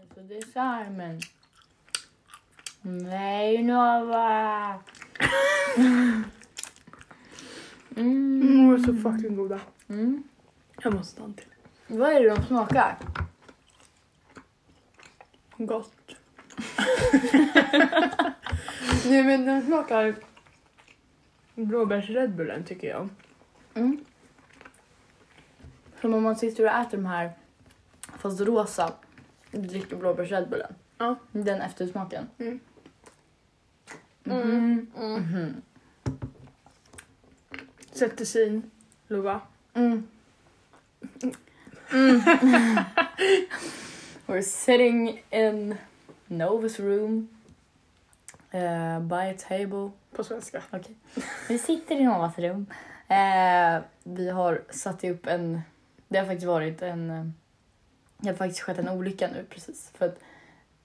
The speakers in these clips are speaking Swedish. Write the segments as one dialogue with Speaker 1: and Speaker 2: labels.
Speaker 1: Alltså, det är charmen. Nej, Nova! Mm.
Speaker 2: Mm, de är så fucking goda.
Speaker 1: Mm.
Speaker 2: Jag måste ta en till.
Speaker 1: Vad är det de smakar?
Speaker 2: Gott.
Speaker 1: Nej, men de smakar...
Speaker 2: Blåbärs-redbullen tycker jag.
Speaker 1: Mm. Som om man sitter och äter de här, fast rosa, dricker blåbärs-redbullen.
Speaker 2: Ja.
Speaker 1: Den eftersmaken.
Speaker 2: Mm.
Speaker 1: Mhm. Mhm.
Speaker 2: Sätt tessin. Lova.
Speaker 1: Mm. We're sitting in Nova's room eh, by a table.
Speaker 2: På svenska.
Speaker 1: Vi sitter i Novas rum. Eh, vi har satt upp en... Det har faktiskt varit en... eh, Det har faktiskt skett en olycka nu precis. För att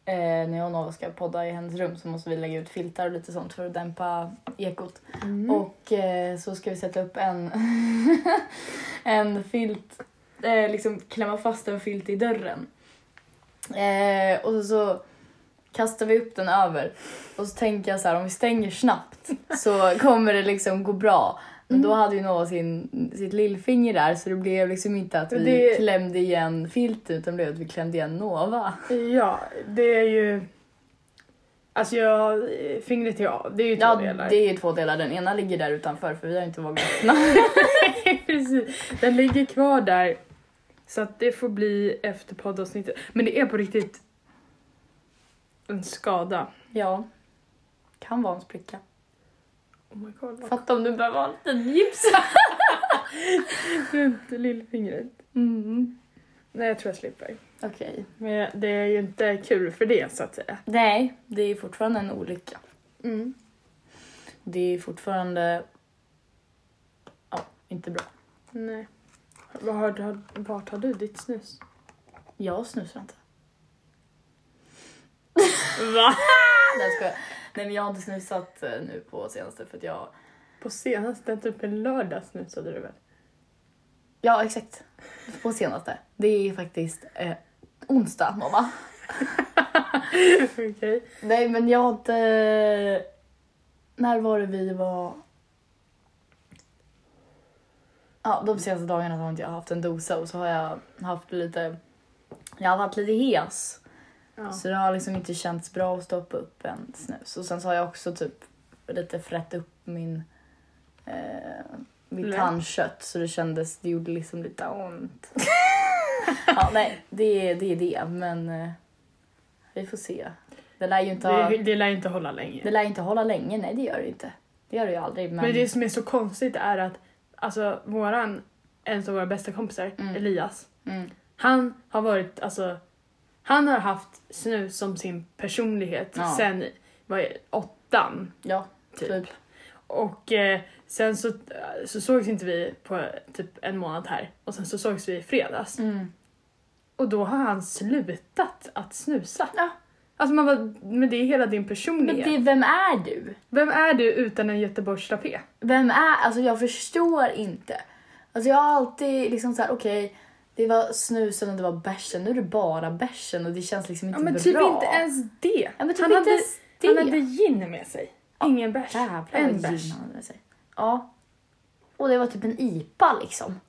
Speaker 1: eh, när jag och Nova ska podda i hennes rum så måste vi lägga ut filtar och lite sånt för att dämpa ekot.
Speaker 2: Mm.
Speaker 1: Och eh, så ska vi sätta upp en, en filt, eh, liksom klämma fast en filt i dörren. Eh, och så, så kastar vi upp den över och så tänker jag så här om vi stänger snabbt så kommer det liksom gå bra. Men
Speaker 2: Mm.
Speaker 1: då hade ju Nova sin, sitt lillfinger där så det blev liksom inte att vi
Speaker 2: Det-
Speaker 1: klämde igen filten utan det blev att vi klämde igen Nova.
Speaker 2: Ja, det är ju... Alltså jag... Fingret är av. Det är ju två
Speaker 1: Ja,
Speaker 2: delar.
Speaker 1: det är ju två delar. Den ena ligger där utanför för vi har inte vågat öppna.
Speaker 2: Precis. Den ligger kvar där. Så att det får bli efter poddavsnittet. Men det är på riktigt en skada.
Speaker 1: Ja, kan vara en spricka.
Speaker 2: Oh my god, vad
Speaker 1: Fatta om du behöver ha en liten gips.
Speaker 2: sjukt lillfingret. Nej, jag tror jag slipper.
Speaker 1: Mm, Okej.
Speaker 2: Men det är ju inte kul för det så att säga.
Speaker 1: Nej, det är fortfarande en olycka.
Speaker 2: Mm.
Speaker 1: Det är fortfarande... Ja, inte bra.
Speaker 2: Nej. Var har, har, vart har du ditt snus?
Speaker 1: Jag snusar inte.
Speaker 2: Va?
Speaker 1: Nej, jag skojar. Nej, men jag har inte snusat eh, nu på senaste för att jag...
Speaker 2: På senaste, typ en lördag snusade du väl?
Speaker 1: Ja, exakt. På senaste. Det är faktiskt eh, onsdag, mamma.
Speaker 2: Okej.
Speaker 1: Nej, men jag har inte... När var det vi var... Ja, de senaste dagarna så har inte jag haft en dosa och så har jag haft lite... Jag har varit lite hes.
Speaker 2: Ja.
Speaker 1: Så det har liksom inte känts bra att stoppa upp en snus. Och sen så har jag också typ lite frätt upp min... Eh, mitt
Speaker 2: Lä-
Speaker 1: tandkött så det kändes... Det gjorde liksom lite ont. ja, nej. Det är det. Är det men eh, vi får se. Det lär ju inte ha...
Speaker 2: Det, det lär inte hålla länge.
Speaker 1: Det lär inte hålla länge, nej det gör det inte. Det gör det ju aldrig. Men,
Speaker 2: Men det som är så konstigt är att alltså, våran, en av våra bästa kompisar,
Speaker 1: Mm.
Speaker 2: Elias,
Speaker 1: mm,
Speaker 2: han har varit, alltså, han har haft snus som sin personlighet
Speaker 1: Ja.
Speaker 2: sen vad är, det, åttan.
Speaker 1: ja,
Speaker 2: Typ.
Speaker 1: typ.
Speaker 2: Och eh, sen så, så sågs inte vi på eh, typ en månad här och sen så sågs vi i fredags.
Speaker 1: Mm.
Speaker 2: Och då har han slutat att snusa.
Speaker 1: Ja.
Speaker 2: Alltså man var, men det är hela din personlighet.
Speaker 1: Men det, vem är du?
Speaker 2: Vem är du utan en Göteborgstrapé?
Speaker 1: Vem är, alltså jag förstår inte. Alltså jag har alltid liksom såhär, okej, det var snusen och det var bärsen, nu är det bara bärsen och det känns liksom inte
Speaker 2: Ja men
Speaker 1: bra.
Speaker 2: typ inte ens det.
Speaker 1: Ja men typ
Speaker 2: han,
Speaker 1: inte
Speaker 2: hade,
Speaker 1: ens det.
Speaker 2: han hade gin med sig. Ingen bärs.
Speaker 1: Jävlar
Speaker 2: En
Speaker 1: vad
Speaker 2: bärs.
Speaker 1: gin han hade med sig. Ja. Och det var typ en IPA liksom.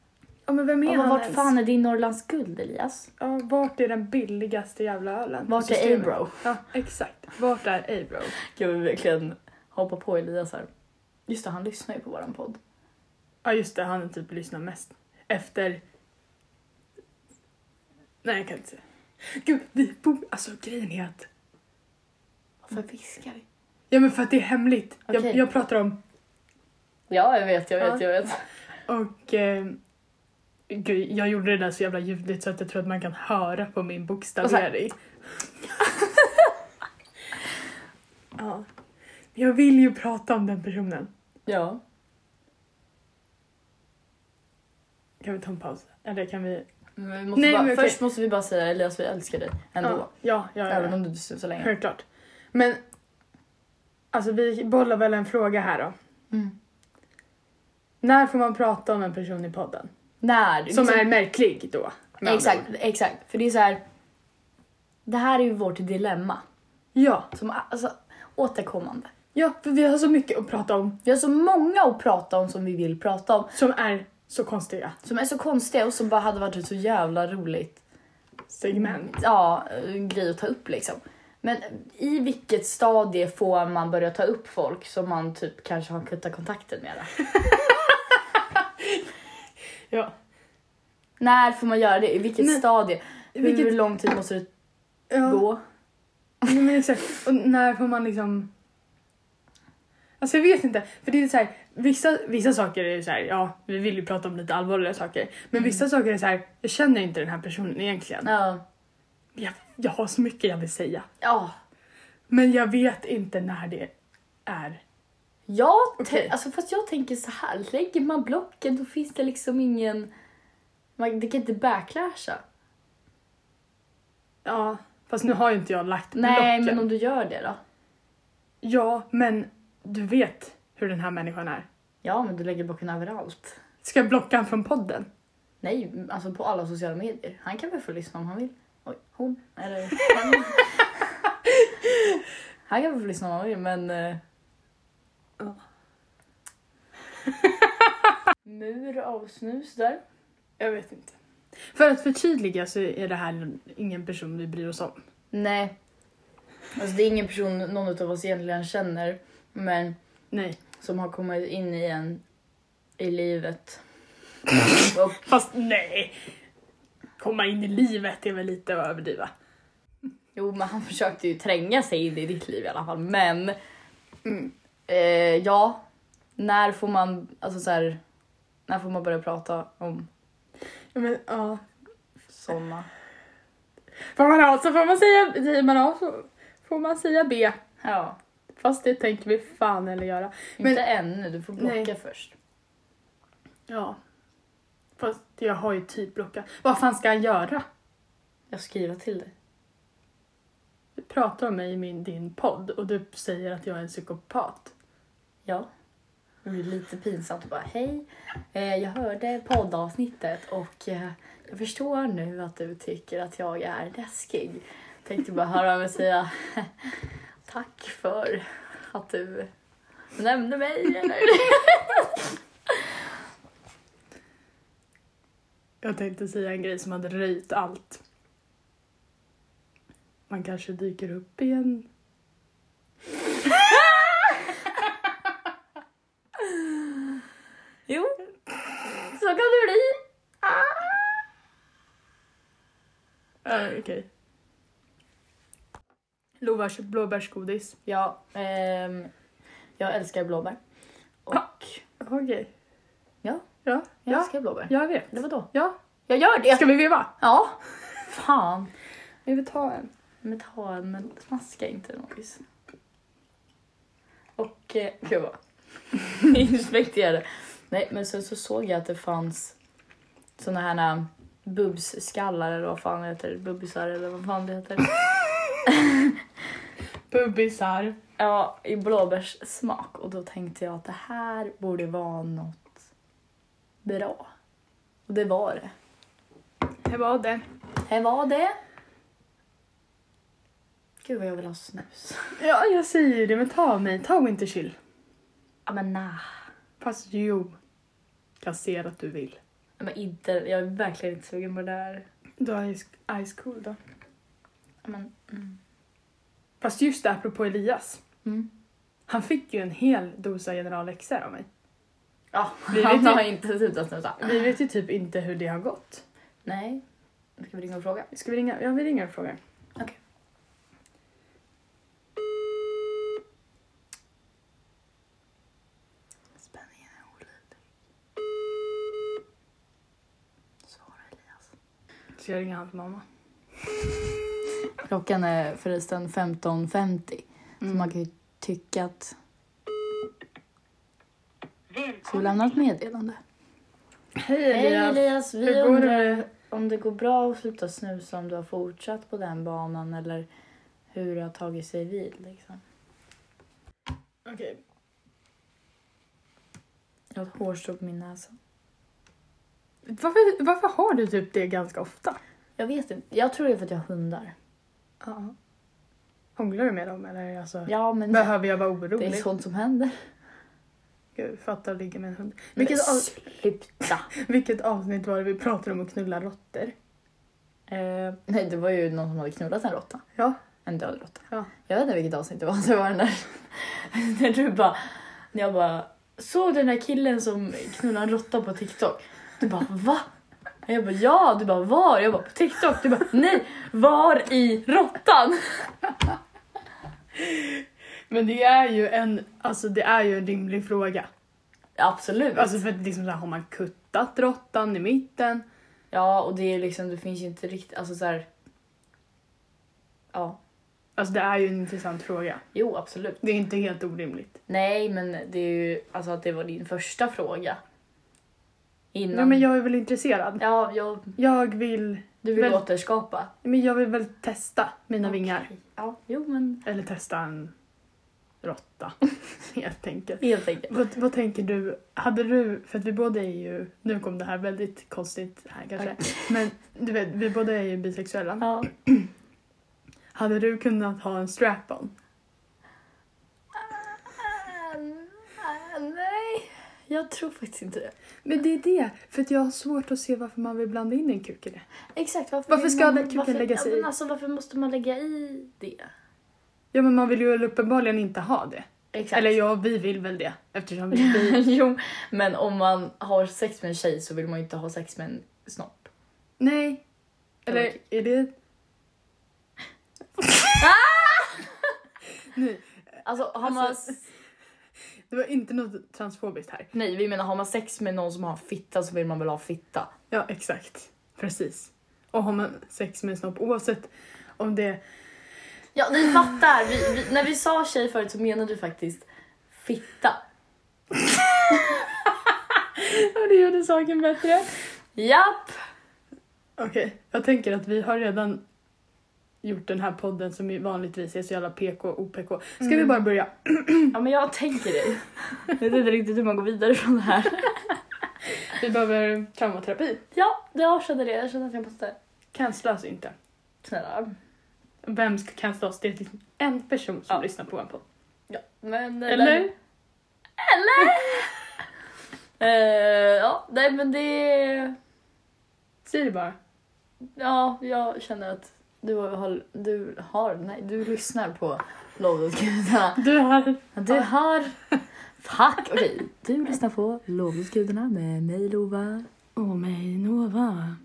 Speaker 2: Ja men vem är
Speaker 1: Ja,
Speaker 2: han
Speaker 1: men vart
Speaker 2: ens?
Speaker 1: fan är din Norrlands guld Elias?
Speaker 2: Ja, vart är den billigaste jävla ölen?
Speaker 1: Vart är
Speaker 2: Systemet.
Speaker 1: Abro?
Speaker 2: Ja exakt. Vart är Abro?
Speaker 1: Gud vi verkligen hoppa på Elias här. Just det, han lyssnar ju på våran podd.
Speaker 2: Ja just det, han typ lyssnar mest. Efter... Nej jag kan inte säga. Gud, vi bor... Alltså grejen är att...
Speaker 1: Varför viskar vi?
Speaker 2: Ja men för att det är hemligt. Jag,
Speaker 1: Okej.
Speaker 2: jag pratar om...
Speaker 1: Ja, jag vet, jag vet,
Speaker 2: Ja.
Speaker 1: jag vet.
Speaker 2: Och... Eh, gud, jag gjorde det där så jävla ljudligt så att jag tror att man kan höra på min bokstavering. ja. Men Jag vill ju prata om den personen.
Speaker 1: Ja.
Speaker 2: Kan vi ta en paus? Eller kan vi...
Speaker 1: Men vi måste
Speaker 2: Nej,
Speaker 1: bara,
Speaker 2: men okej.
Speaker 1: Först måste vi bara säga Elias, vi älskar dig ändå.
Speaker 2: Ja, ja, ja, ja.
Speaker 1: Även om du inte syns så länge.
Speaker 2: Självklart. Men alltså vi bollar väl en fråga här då.
Speaker 1: Mm.
Speaker 2: När får man prata om en person i podden?
Speaker 1: När?
Speaker 2: Som
Speaker 1: liksom-
Speaker 2: är märklig då. med andra
Speaker 1: Exakt,
Speaker 2: ord.
Speaker 1: exakt. För det är så här. Det här är ju vårt dilemma.
Speaker 2: Ja.
Speaker 1: Som alltså, återkommande.
Speaker 2: Ja, för vi har så mycket att prata om
Speaker 1: Vi har så många att prata om som vi vill prata om.
Speaker 2: som är så konstiga
Speaker 1: Som är så konstiga och som bara hade varit ett så jävla roligt
Speaker 2: segment.
Speaker 1: ja, eh, grej att ta upp liksom. Men i vilket stadie får man börja ta upp folk som man typ kanske har kuttat kontakten med? då?
Speaker 2: Ja.
Speaker 1: När får man göra det? I vilket
Speaker 2: Nej.
Speaker 1: stadie? Hur
Speaker 2: Vilket,
Speaker 1: lång tid måste det
Speaker 2: ja,
Speaker 1: gå?
Speaker 2: nej, men exakt. Och när får man liksom... Alltså jag vet inte, för det är så här, vissa, vissa saker är så här, ja, vi vill ju prata om lite allvarligare saker. Men
Speaker 1: Mm.
Speaker 2: vissa saker är så här, jag känner inte den här personen egentligen.
Speaker 1: Ja.
Speaker 2: Jag, jag har så mycket jag vill säga.
Speaker 1: ja.
Speaker 2: Men jag vet inte när det är.
Speaker 1: Jag, tän-
Speaker 2: Okej.
Speaker 1: alltså, fast jag tänker så här, lägger man blocken då finns det liksom ingen... Man, det kan inte backlasha.
Speaker 2: Ja, fast nu har ju inte jag lagt
Speaker 1: Nej,
Speaker 2: blocken.
Speaker 1: men om du gör det då?
Speaker 2: Ja, men du vet hur den här människan är.
Speaker 1: Ja, men du lägger blocken överallt.
Speaker 2: Ska jag blocka honom från podden?
Speaker 1: Nej, alltså på alla sociala medier. Han kan väl få lyssna om han vill. Oj, hon. Eller han. han kan väl få lyssna om han vill, men... eh,
Speaker 2: Ja.
Speaker 1: Mur av snus där.
Speaker 2: Jag vet inte. För att förtydliga så är det här ingen person vi bryr oss om.
Speaker 1: Nej. Alltså det är ingen person någon av oss egentligen känner, men
Speaker 2: Nej.
Speaker 1: som har kommit in i en i livet. Och
Speaker 2: Fast nej! Komma in i livet är väl lite att överdriva.
Speaker 1: Jo, men han försökte ju tränga sig in i ditt liv i alla fall. Men
Speaker 2: Mm.
Speaker 1: eh, ja, när får man alltså så här, när får man börja prata om
Speaker 2: Ja, men ja.
Speaker 1: såna?
Speaker 2: Får man A så får man säga, säger man A så får man säga B.
Speaker 1: Ja,
Speaker 2: Fast det tänker vi fan eller göra. Men-
Speaker 1: inte ännu. Du får blocka
Speaker 2: Nej.
Speaker 1: först.
Speaker 2: Ja. Fast jag har ju typ blockat. Vad fan ska jag göra?
Speaker 1: Jag skriver till dig.
Speaker 2: Du pratar om mig i min, din podd och du säger att jag är en psykopat.
Speaker 1: Ja. Det blir lite pinsamt att bara hej, eh, jag hörde poddavsnittet och eh, jag förstår nu att du tycker att jag är läskig. Tänkte bara höra av mig och säga tack för att du nämnde mig. Eller?
Speaker 2: Jag tänkte säga en grej som hade röjt allt. Man kanske dyker upp igen.
Speaker 1: Jo, så kan det bli.
Speaker 2: Uh, Okej. Lova har köpt blåbärsgodis.
Speaker 1: Ja, ehm, jag älskar blåbär. Och
Speaker 2: Okej.
Speaker 1: Ja.
Speaker 2: Ja.
Speaker 1: jag
Speaker 2: Ja.
Speaker 1: älskar blåbär.
Speaker 2: Jag vet.
Speaker 1: Det var då.
Speaker 2: Ja.
Speaker 1: Jag gör det!
Speaker 2: Ska vi veva?
Speaker 1: Ja, fan.
Speaker 2: Vi vill ta en.
Speaker 1: Men ta en, men smaska inte Nobis. Och eh, gud vad inspekterade. Nej men sen så såg jag att det fanns såna här eh, bubsskallar eller vad fan det heter, bubbisar eller vad fan det heter.
Speaker 2: Bubbisar.
Speaker 1: Ja, i blåbärssmak och då tänkte jag att det här borde vara något bra. Och det var det.
Speaker 2: Det var det.
Speaker 1: Det var det. Gud vad jag vill ha snus.
Speaker 2: Ja, jag säger ju det. Men ta av mig. Ta Winterchill.
Speaker 1: Ja men nah.
Speaker 2: Fast jo. Jag ser att du vill.
Speaker 1: Nej, Men inte, jag är verkligen inte sugen på det där.
Speaker 2: Du har ice, ice cool då.
Speaker 1: Ja, Men, mm.
Speaker 2: Fast just det, apropå Elias.
Speaker 1: Mm.
Speaker 2: Han fick ju en hel dosa General XR av mig.
Speaker 1: Ja,
Speaker 2: Vi
Speaker 1: han
Speaker 2: vet ju-
Speaker 1: har inte slutat snusa.
Speaker 2: Vi vet ju typ inte hur det har gått.
Speaker 1: Nej. Nu ska vi ringa och fråga.
Speaker 2: Ska vi ringa? Ja, vi ringer och frågar.
Speaker 1: Okej. Spänningen är olidlig. Svara Elias.
Speaker 2: Ska jag ringa hans mamma?
Speaker 1: Klockan är förresten 15.50 så man kan ju tycka att... Ska vi lämna ett meddelande?
Speaker 2: Hej
Speaker 1: Hej
Speaker 2: Elias!
Speaker 1: Elias, vi
Speaker 2: Hur går det
Speaker 1: undrar
Speaker 2: med...
Speaker 1: om det går bra att sluta snusa om du har fortsatt på den banan eller hur det har tagit sig vid liksom.
Speaker 2: Okej.
Speaker 1: Jag har ett hårstrå på min näsa.
Speaker 2: Varför, varför har du typ det ganska ofta?
Speaker 1: Jag vet inte, jag tror det är för att jag har hundar.
Speaker 2: Ja. Hånglar du med dem eller alltså,
Speaker 1: Ja, men
Speaker 2: behöver jag vara
Speaker 1: det är
Speaker 2: orolig?
Speaker 1: sånt som händer.
Speaker 2: Gud, fattar att ligga med en hund.
Speaker 1: Men alltså-
Speaker 2: Vilket, av,
Speaker 1: sluta!
Speaker 2: vilket avsnitt var det vi pratade om att knulla råttor?
Speaker 1: Eh, nej, det var ju någon som hade knullat en råtta.
Speaker 2: Ja.
Speaker 1: En död råtta.
Speaker 2: Ja.
Speaker 1: Jag vet inte vilket avsnitt det var. Det var den där när du bara... När jag bara... Såg den där killen som knullade en råtta på TikTok? Du bara va? Jag bara ja, du bara var? Jag bara på TikTok. Du bara nej, var i råttan?
Speaker 2: Men det är ju en, alltså det är ju en rimlig fråga.
Speaker 1: Absolut.
Speaker 2: Alltså för att det är liksom så här, har man kuttat råttan i mitten?
Speaker 1: Ja, och det är liksom, det finns ju inte riktigt, alltså så här. Ja,
Speaker 2: Alltså det är ju en intressant fråga.
Speaker 1: jo absolut.
Speaker 2: Det är inte helt orimligt.
Speaker 1: Nej, men det är ju, alltså att det var din första fråga. Innan.
Speaker 2: Nej men jag är väl intresserad.
Speaker 1: Ja, jag,
Speaker 2: Jag vill,
Speaker 1: du vill
Speaker 2: Men-
Speaker 1: återskapa.
Speaker 2: men jag vill väl testa mina
Speaker 1: Okej.
Speaker 2: vingar.
Speaker 1: Ja, jo men
Speaker 2: Eller testa en råtta helt enkelt.
Speaker 1: helt enkelt.
Speaker 2: Vad, vad tänker du? Hade du, för att vi båda är ju, nu kom det här väldigt konstigt här kanske, men du vet, vi båda är ju bisexuella.
Speaker 1: Ja.
Speaker 2: Hade du kunnat ha en strap-on?
Speaker 1: Nej, jag tror faktiskt inte det.
Speaker 2: Men det är det, för att jag har svårt att se varför man vill blanda in en kuk i det.
Speaker 1: Exakt, varför,
Speaker 2: Varför
Speaker 1: vill
Speaker 2: ska
Speaker 1: man-
Speaker 2: den kuken
Speaker 1: varför-
Speaker 2: lägga sig
Speaker 1: ja, men
Speaker 2: i?
Speaker 1: Alltså varför måste man lägga i det?
Speaker 2: Ja men man vill ju uppenbarligen inte ha det.
Speaker 1: Exakt.
Speaker 2: Eller ja, vi vill väl det eftersom vi, vi
Speaker 1: jo, men om man har sex med en tjej så vill man ju inte ha sex med en snopp.
Speaker 2: Nej. Eller är det... Nej,
Speaker 1: Alltså har man...
Speaker 2: Alltså- det var inte något transfobiskt här.
Speaker 1: Nej, vi menar har man sex med någon som har en fitta så vill man väl ha fitta.
Speaker 2: Ja, exakt. Precis. Och har man sex med en snopp oavsett om det...
Speaker 1: Ja, ni fattar. Vi, vi, när vi sa tjej förut så menade du faktiskt fitta.
Speaker 2: Ja, det gjorde saken bättre.
Speaker 1: Japp!
Speaker 2: Okej, jag tänker att vi har redan gjort den här podden som ju vanligtvis är så jävla PK och OPK. Ska vi
Speaker 1: Mm.
Speaker 2: bara börja?
Speaker 1: Ja, men jag tänker det. Jag vet inte riktigt hur man går vidare från det här.
Speaker 2: Vi behöver traumaterapi.
Speaker 1: Ja, det- jag känner det. Jag känner att jag måste...
Speaker 2: Cancella oss inte.
Speaker 1: Snälla.
Speaker 2: Vem ska cancella oss? Det är liksom en person som
Speaker 1: Ja.
Speaker 2: lyssnar på en podd.
Speaker 1: Ja, men...
Speaker 2: Eller?
Speaker 1: Eller? Eh, ja, nej men det...
Speaker 2: Säg det bara.
Speaker 1: Ja, jag känner att du har... Du har... Nej, du lyssnar på Lovdotsgudarna.
Speaker 2: Du har...
Speaker 1: Du har... Fuck! Okej, du lyssnar på Lovdotsgudarna med mig Lova.
Speaker 2: Åh mig Nova.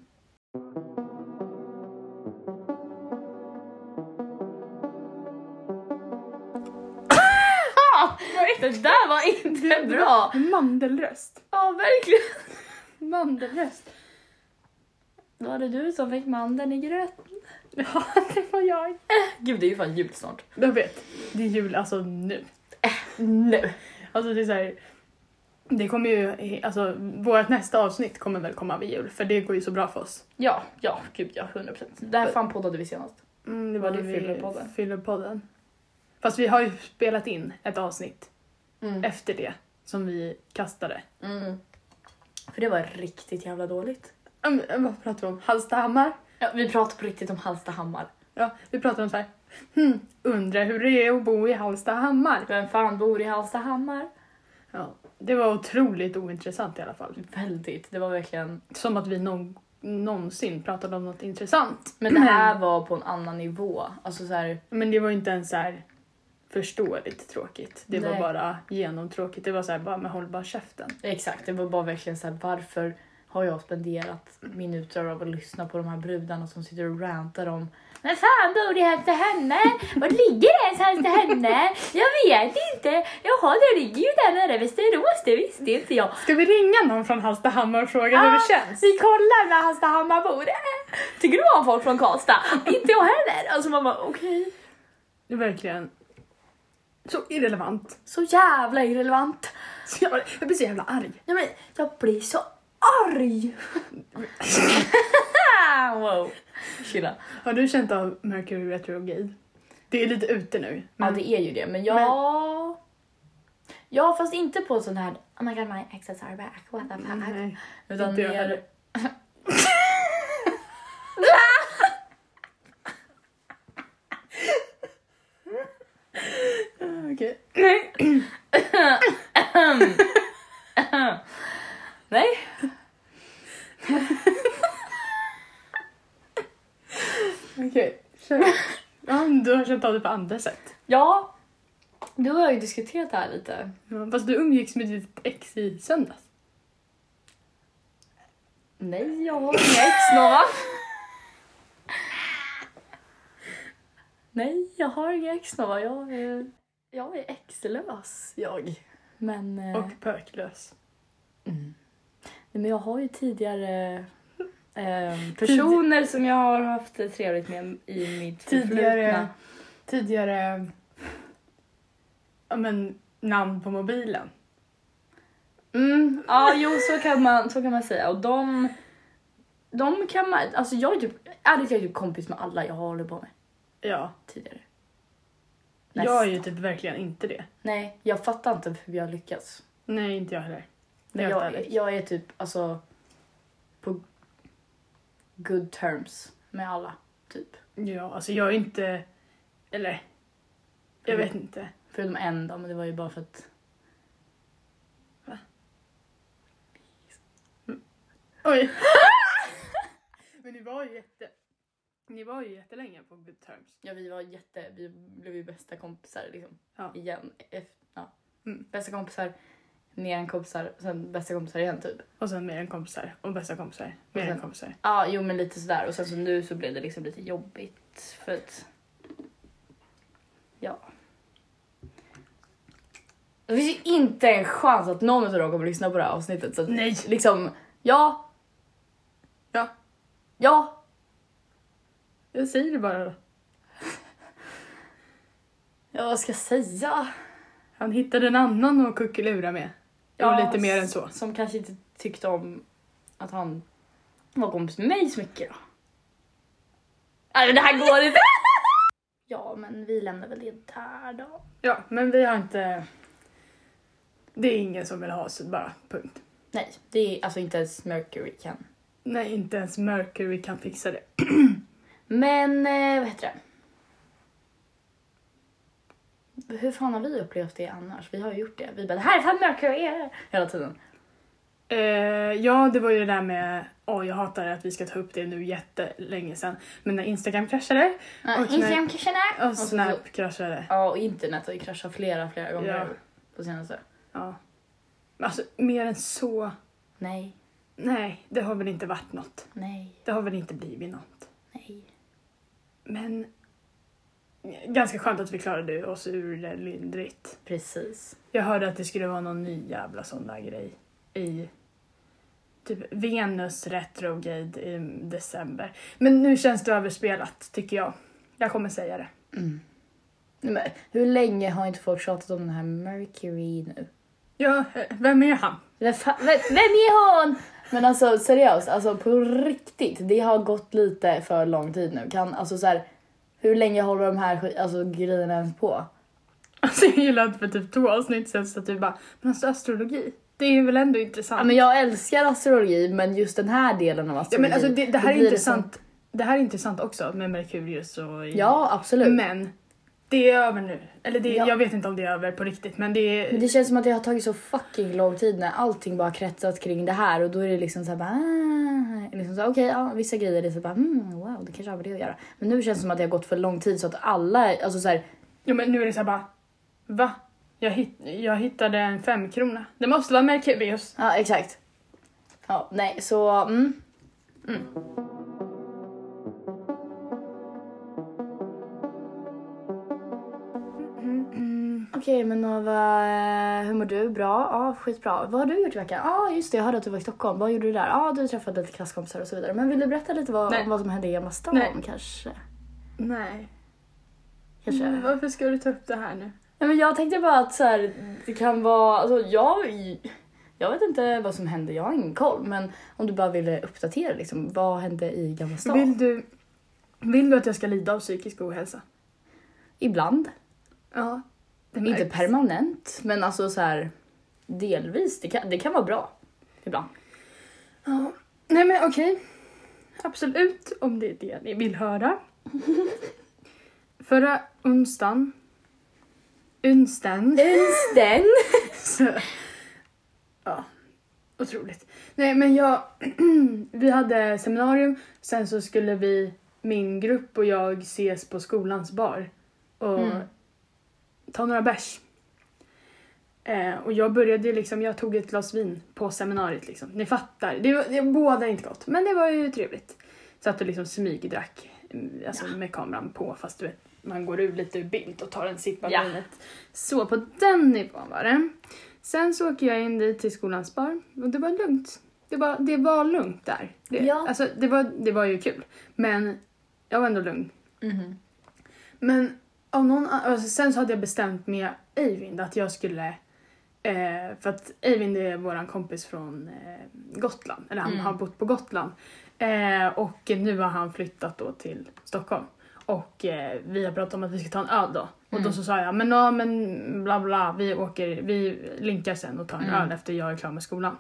Speaker 1: Ah! Det där var inte bra!
Speaker 2: Mandelröst.
Speaker 1: Ja, verkligen.
Speaker 2: Mandelröst.
Speaker 1: Var det du som fick mandeln i gröten?
Speaker 2: Ja, det var jag.
Speaker 1: Gud, det är ju fan jul snart.
Speaker 2: Jag vet. Det är jul alltså nu.
Speaker 1: Nu.
Speaker 2: Alltså det är så här, det kommer ju, alltså vårt nästa avsnitt kommer väl komma vid jul för det går ju så bra för oss.
Speaker 1: Ja, ja, gud ja, 100 procent. Där fan poddade vi senast.
Speaker 2: Mm, det
Speaker 1: var
Speaker 2: när
Speaker 1: det
Speaker 2: vi
Speaker 1: Fyllepodden.
Speaker 2: Fyllepodden. Fast vi har ju spelat in ett avsnitt
Speaker 1: Mm.
Speaker 2: efter det som vi kastade.
Speaker 1: Mm. För det var riktigt jävla dåligt.
Speaker 2: Mm, mm, vad pratar vi om? Hallstahammar?
Speaker 1: Ja, vi pratar på riktigt om Hallstahammar.
Speaker 2: Ja, vi pratar om så här. Hmm, undrar hur det är att bo i Hallstahammar.
Speaker 1: Vem fan bor i Hallstahammar?
Speaker 2: Ja, det var otroligt ointressant i alla fall.
Speaker 1: Väldigt, det var verkligen...
Speaker 2: Som att vi någon, någonsin pratade om något intressant.
Speaker 1: Men det här var på en annan nivå. Alltså så här,
Speaker 2: Men det var ju inte ens så här förståeligt tråkigt. Det var
Speaker 1: Nej.
Speaker 2: bara genomtråkigt. Det var så här, bara med håll bara käften.
Speaker 1: exakt, det var bara verkligen så här, varför har jag spenderat minuter av att lyssna på de här brudarna som sitter och rantar om Men fan bor i Hallstahammar? Var ligger ens Hallstahammar? Jag vet inte. Jaha, det ligger ju där nära Västerås, det visste inte jag. Ah,
Speaker 2: Ska vi ringa någon från Hallstahammar och fråga hur det känns?
Speaker 1: Vi kollar med Hallstahammar bor. Tycker du om folk från Karlstad? inte jag heller. Alltså man bara okej.
Speaker 2: Det är verkligen så irrelevant.
Speaker 1: Så jävla irrelevant.
Speaker 2: Så jag, jag blir så jävla arg.
Speaker 1: Nej, men jag blir så arg. wow. Chilla.
Speaker 2: Har du känt av Mercury Retrograde? Det är lite ute nu.
Speaker 1: Ja
Speaker 2: men-
Speaker 1: det är ju det men jag... Ja fast inte på sån här oh my god my exes are back what the fuck.
Speaker 2: Nej.
Speaker 1: Utan
Speaker 2: inte jag
Speaker 1: mer...
Speaker 2: heller. Ah,
Speaker 1: Okej.
Speaker 2: Nej.
Speaker 1: Nej.
Speaker 2: Okej, kör. Ja, men du har känt av det på andra sätt.
Speaker 1: Ja, du har ju diskuterat det här lite.
Speaker 2: Ja, fast du umgicks med ditt ex i söndags.
Speaker 1: Nej, jag har inga ex Nova. Nej, jag har inga ex Nova. Jag är, jag är exlös, jag. Men, eh,
Speaker 2: Och pöklös.
Speaker 1: nej, men jag har ju tidigare eh, personer som jag har haft det trevligt med i mitt
Speaker 2: Tidigare,
Speaker 1: förflutna.
Speaker 2: tidigare ja, men, namn på mobilen.
Speaker 1: Mm, ja, jo, så kan, man, så kan man säga. Och de, de kan man... Alltså jag är typ, ärligt, jag är typ kompis med alla jag håller på med
Speaker 2: Ja,
Speaker 1: tidigare.
Speaker 2: jag är ju typ verkligen inte det.
Speaker 1: Nej, jag fattar inte hur jag lyckas.
Speaker 2: Nej, inte jag heller.
Speaker 1: Men
Speaker 2: Helt
Speaker 1: jag,
Speaker 2: ärligt.
Speaker 1: jag är typ alltså på good terms med alla. Typ.
Speaker 2: Ja, alltså jag är inte... Eller, jag
Speaker 1: Mm.
Speaker 2: vet inte.
Speaker 1: Förutom en dag, men det var ju bara för att...
Speaker 2: Oj! men ni var ju jätte... Ni var ju jättelänge på good terms.
Speaker 1: Ja, vi var jätte... Vi blev ju bästa kompisar liksom.
Speaker 2: Ja.
Speaker 1: Igen. Efter, ja.
Speaker 2: Mm.
Speaker 1: Bästa kompisar, mer än kompisar, sen bästa kompisar igen typ. Ja,
Speaker 2: Och sen mer än kompisar. Och bästa kompisar. Mer
Speaker 1: Och sen-
Speaker 2: än kompisar.
Speaker 1: jo men lite sådär. Och sen så nu så blev det liksom lite jobbigt för att... Ja. Det finns ju inte en chans att någon av dem kommer lyssna på det här avsnittet. Så att
Speaker 2: Nej!
Speaker 1: liksom, ja,
Speaker 2: Ja,
Speaker 1: ja,
Speaker 2: jag säger det bara.
Speaker 1: ja vad ska jag säga?
Speaker 2: Han hittade en annan att kuckelura med.
Speaker 1: Ja,
Speaker 2: och lite mer än så.
Speaker 1: Som kanske inte tyckte om att han var kompis med mig så mycket då. Nej men det här går inte! ja men vi lämnar väl det där då.
Speaker 2: Ja, men vi har inte... Det är ingen som vill ha oss bara, punkt.
Speaker 1: Nej, det är alltså inte ens Mercury kan.
Speaker 2: Nej, inte ens Mercury kan fixa det.
Speaker 1: Men eh, vad heter det? Hur fan har vi upplevt det annars? Vi har ju gjort det. Vi bara det här är fan Mercury! Hela tiden.
Speaker 2: Eh, ja, det var ju det där med... Åh, jag hatar att vi ska ta upp det nu jättelänge sen. Men när Instagram kraschade
Speaker 1: Ja,
Speaker 2: Och Snap-
Speaker 1: Instagram-kurserna!
Speaker 2: och Snap kraschade.
Speaker 1: Ja, och internet har ju kraschat flera, flera gånger
Speaker 2: Ja.
Speaker 1: på senaste.
Speaker 2: Ja. Men Alltså, mer än så...
Speaker 1: Nej,
Speaker 2: Nej, det har väl inte varit något.
Speaker 1: nej,
Speaker 2: Det har väl inte blivit något.
Speaker 1: nej.
Speaker 2: Men... Ganska skönt att vi klarade oss ur det lindrigt.
Speaker 1: Precis.
Speaker 2: Jag hörde att det skulle vara någon ny jävla sån där grej i typ Venus retrograde i december. Men nu känns det överspelat tycker jag. Jag kommer säga det.
Speaker 1: Men, hur länge har inte folk tjatat om den här Mercury nu?
Speaker 2: Ja, eh, vem är han?
Speaker 1: Vem, fa- vem, vem är hon? Men alltså seriöst, alltså på riktigt. Det har gått lite för lång tid nu. Kan, alltså så här, hur länge håller de här sk- alltså, grejerna ens på?
Speaker 2: Alltså jag gillar att för typ två avsnitt sen så att du bara, men alltså astrologi, det är väl ändå intressant?
Speaker 1: Ja, men jag älskar astrologi, men just den här delen av
Speaker 2: Ja,
Speaker 1: astrologi.
Speaker 2: men alltså det, det här
Speaker 1: då
Speaker 2: är
Speaker 1: blir
Speaker 2: intressant. Det, här är intressant också med Merkurius och...
Speaker 1: som- Ja, absolut. Men,
Speaker 2: Men det är över nu. Eller det,
Speaker 1: Ja.
Speaker 2: jag vet inte om det är över på riktigt men det är...
Speaker 1: det känns som att det har tagit så fucking lång tid när allting bara kretsat kring det här och då är det liksom såhär bara... ah, Liksom så, här, okej, ja, vissa grejer är så bara mm, wow, det kanske har med det att göra. Men nu känns det som att det har gått för lång tid så att alla, alltså såhär,
Speaker 2: Jo men nu är det så här bara, va? Jag, hit, jag hittade en femkrona. Det måste vara Merkurius.
Speaker 1: ja exakt. Ja, nej, så mm. Okej, men Nova, eh, hur mår du? Bra? Ja, skitbra. Vad har du gjort i veckan? Ja, just det, jag hörde att du var i Stockholm. Vad gjorde du där? Ja, du träffade lite klasskompisar och så vidare. Men vill du berätta lite vad,
Speaker 2: Nej.
Speaker 1: om vad som hände i Gamla stan
Speaker 2: Nej.
Speaker 1: kanske?
Speaker 2: Nej.
Speaker 1: kanske?
Speaker 2: Varför ska du ta upp det här nu?
Speaker 1: Nej, men jag tänkte bara att så här, det kan vara... Alltså, jag, jag vet inte vad som hände, jag har ingen koll. Men om du bara ville uppdatera, liksom, vad hände i Gamla stan?
Speaker 2: Vill du, vill du att jag ska lida av psykisk ohälsa?
Speaker 1: Ibland.
Speaker 2: Ja. Det märks.
Speaker 1: Inte permanent, men alltså så här, delvis. Det kan, det kan vara bra. Ibland.
Speaker 2: Ja. Nej men okej. Absolut, om det är det ni vill höra. Förra onsdagen Unsten.
Speaker 1: Unsten!
Speaker 2: Så, ja, otroligt. Nej men jag, vi hade seminarium, sen så skulle vi, min grupp och jag ses på skolans bar och
Speaker 1: Mm.
Speaker 2: ta några bärs. Eh, och jag började ju liksom, jag tog ett glas vin på seminariet liksom. Ni fattar, det, var, det båda inte gott men det var ju trevligt. Satt och liksom smygdrack, mm, alltså med kameran på fast du vet, man går ur lite ur bild och tar en sipp av
Speaker 1: Ja.
Speaker 2: vinet. Så på den nivån var det. Sen så åker jag in dit till skolans bar och det var lugnt. Det var, det var lugnt där. Det,
Speaker 1: Ja.
Speaker 2: alltså, det, var, det var ju kul, men jag var ändå lugn.
Speaker 1: Mhm.
Speaker 2: Men av någon an- alltså, sen så hade jag bestämt med Eivind att jag skulle... Eh, för att Eivind är vår kompis från eh, Gotland, eller han
Speaker 1: Mm.
Speaker 2: har bott på Gotland. Eh, och nu har han flyttat då till Stockholm. Och eh, vi har pratat om att vi ska ta en öl då. Och då
Speaker 1: Mm.
Speaker 2: så sa jag, men ja men bla bla, vi åker, vi linkar sen och tar en
Speaker 1: Mm.
Speaker 2: öl efter jag är klar med skolan.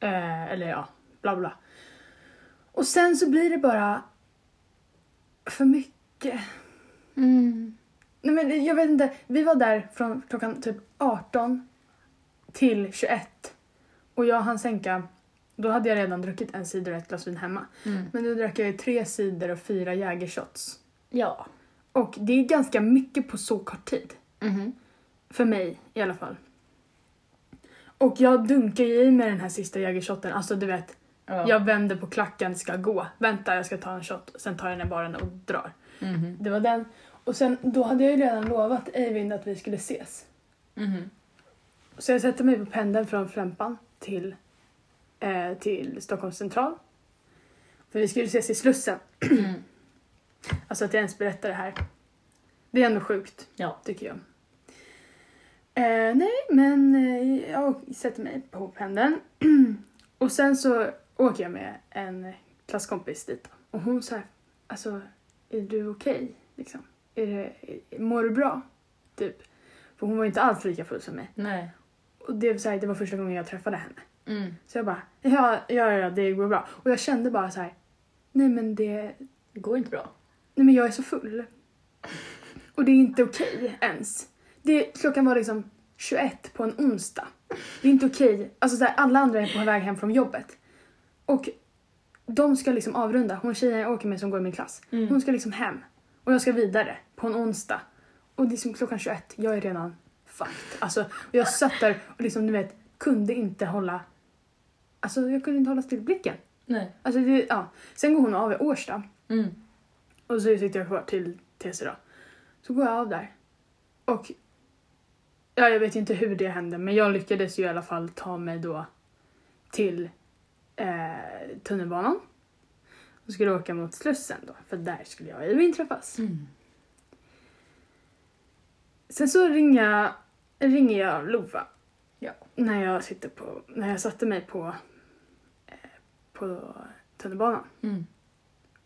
Speaker 2: Eh, eller ja, bla bla. Och sen så blir det bara för mycket.
Speaker 1: Mm.
Speaker 2: Nej men jag vet inte, vi var där från klockan typ 18 till 21. Och jag hann sänka, då hade jag redan druckit en cider och ett glas vin hemma.
Speaker 1: Mm.
Speaker 2: Men då drack jag ju tre cider och fyra jägershots.
Speaker 1: Ja.
Speaker 2: Och det är ganska mycket på så kort tid.
Speaker 1: Mhm.
Speaker 2: För mig i alla fall. Och jag dunkar ju i mig den här sista jägershotten, alltså du vet,
Speaker 1: Ja.
Speaker 2: jag vänder på klacken, ska gå. Vänta, jag ska ta en shot, sen tar jag den i baren och drar.
Speaker 1: Mhm.
Speaker 2: Det var den. Och sen, då hade jag ju redan lovat Eivind att vi skulle ses.
Speaker 1: Mhm.
Speaker 2: Så jag sätter mig på pendeln från Flämpan till, eh, till Stockholms central. För vi skulle ses i Slussen.
Speaker 1: Mm.
Speaker 2: Alltså att jag ens berättar det här. Det är ändå sjukt,
Speaker 1: Ja.
Speaker 2: tycker jag. Eh, nej, men eh, jag sätter mig på pendeln. och sen så åker jag med en klasskompis dit. Och hon sa, alltså, är du okej? Liksom. Är det, mår du bra? Typ. För hon var ju inte alls lika full som mig.
Speaker 1: Nej.
Speaker 2: Och det, var så här, det var första gången jag träffade henne.
Speaker 1: Mm.
Speaker 2: Så jag bara, ja, ja, ja, det går bra. Och jag kände bara så här, nej men det,
Speaker 1: Det går inte bra.
Speaker 2: nej men jag är så full. Och det är inte okej ens. Det, klockan var liksom 21 på en onsdag. Det är inte okej. Alltså så här, alla andra är på väg hem från jobbet. Och de ska liksom avrunda. Hon tjejen jag åker med som går i min klass.
Speaker 1: Mm.
Speaker 2: Hon ska liksom hem. Och jag ska vidare på en onsdag. Och det är som klockan 21, jag är redan fucked. Alltså, och jag satt där och liksom, du vet, kunde inte hålla... Alltså jag kunde inte hålla still blicken.
Speaker 1: Nej.
Speaker 2: Alltså, det, ja. Sen går hon av i Årsta.
Speaker 1: Mm.
Speaker 2: Och så sitter jag kvar till TC då. Så går jag av där. Och ja, jag vet inte hur det hände men jag lyckades ju i alla fall ta mig då till eh, tunnelbanan. Och skulle åka mot Slussen då för där skulle jag och Eivind träffas.
Speaker 1: Mm.
Speaker 2: Sen så ringer jag, ringer jag Lova.
Speaker 1: Ja.
Speaker 2: När jag, sitter på, när jag satte mig på, eh, på tunnelbanan.
Speaker 1: Mm.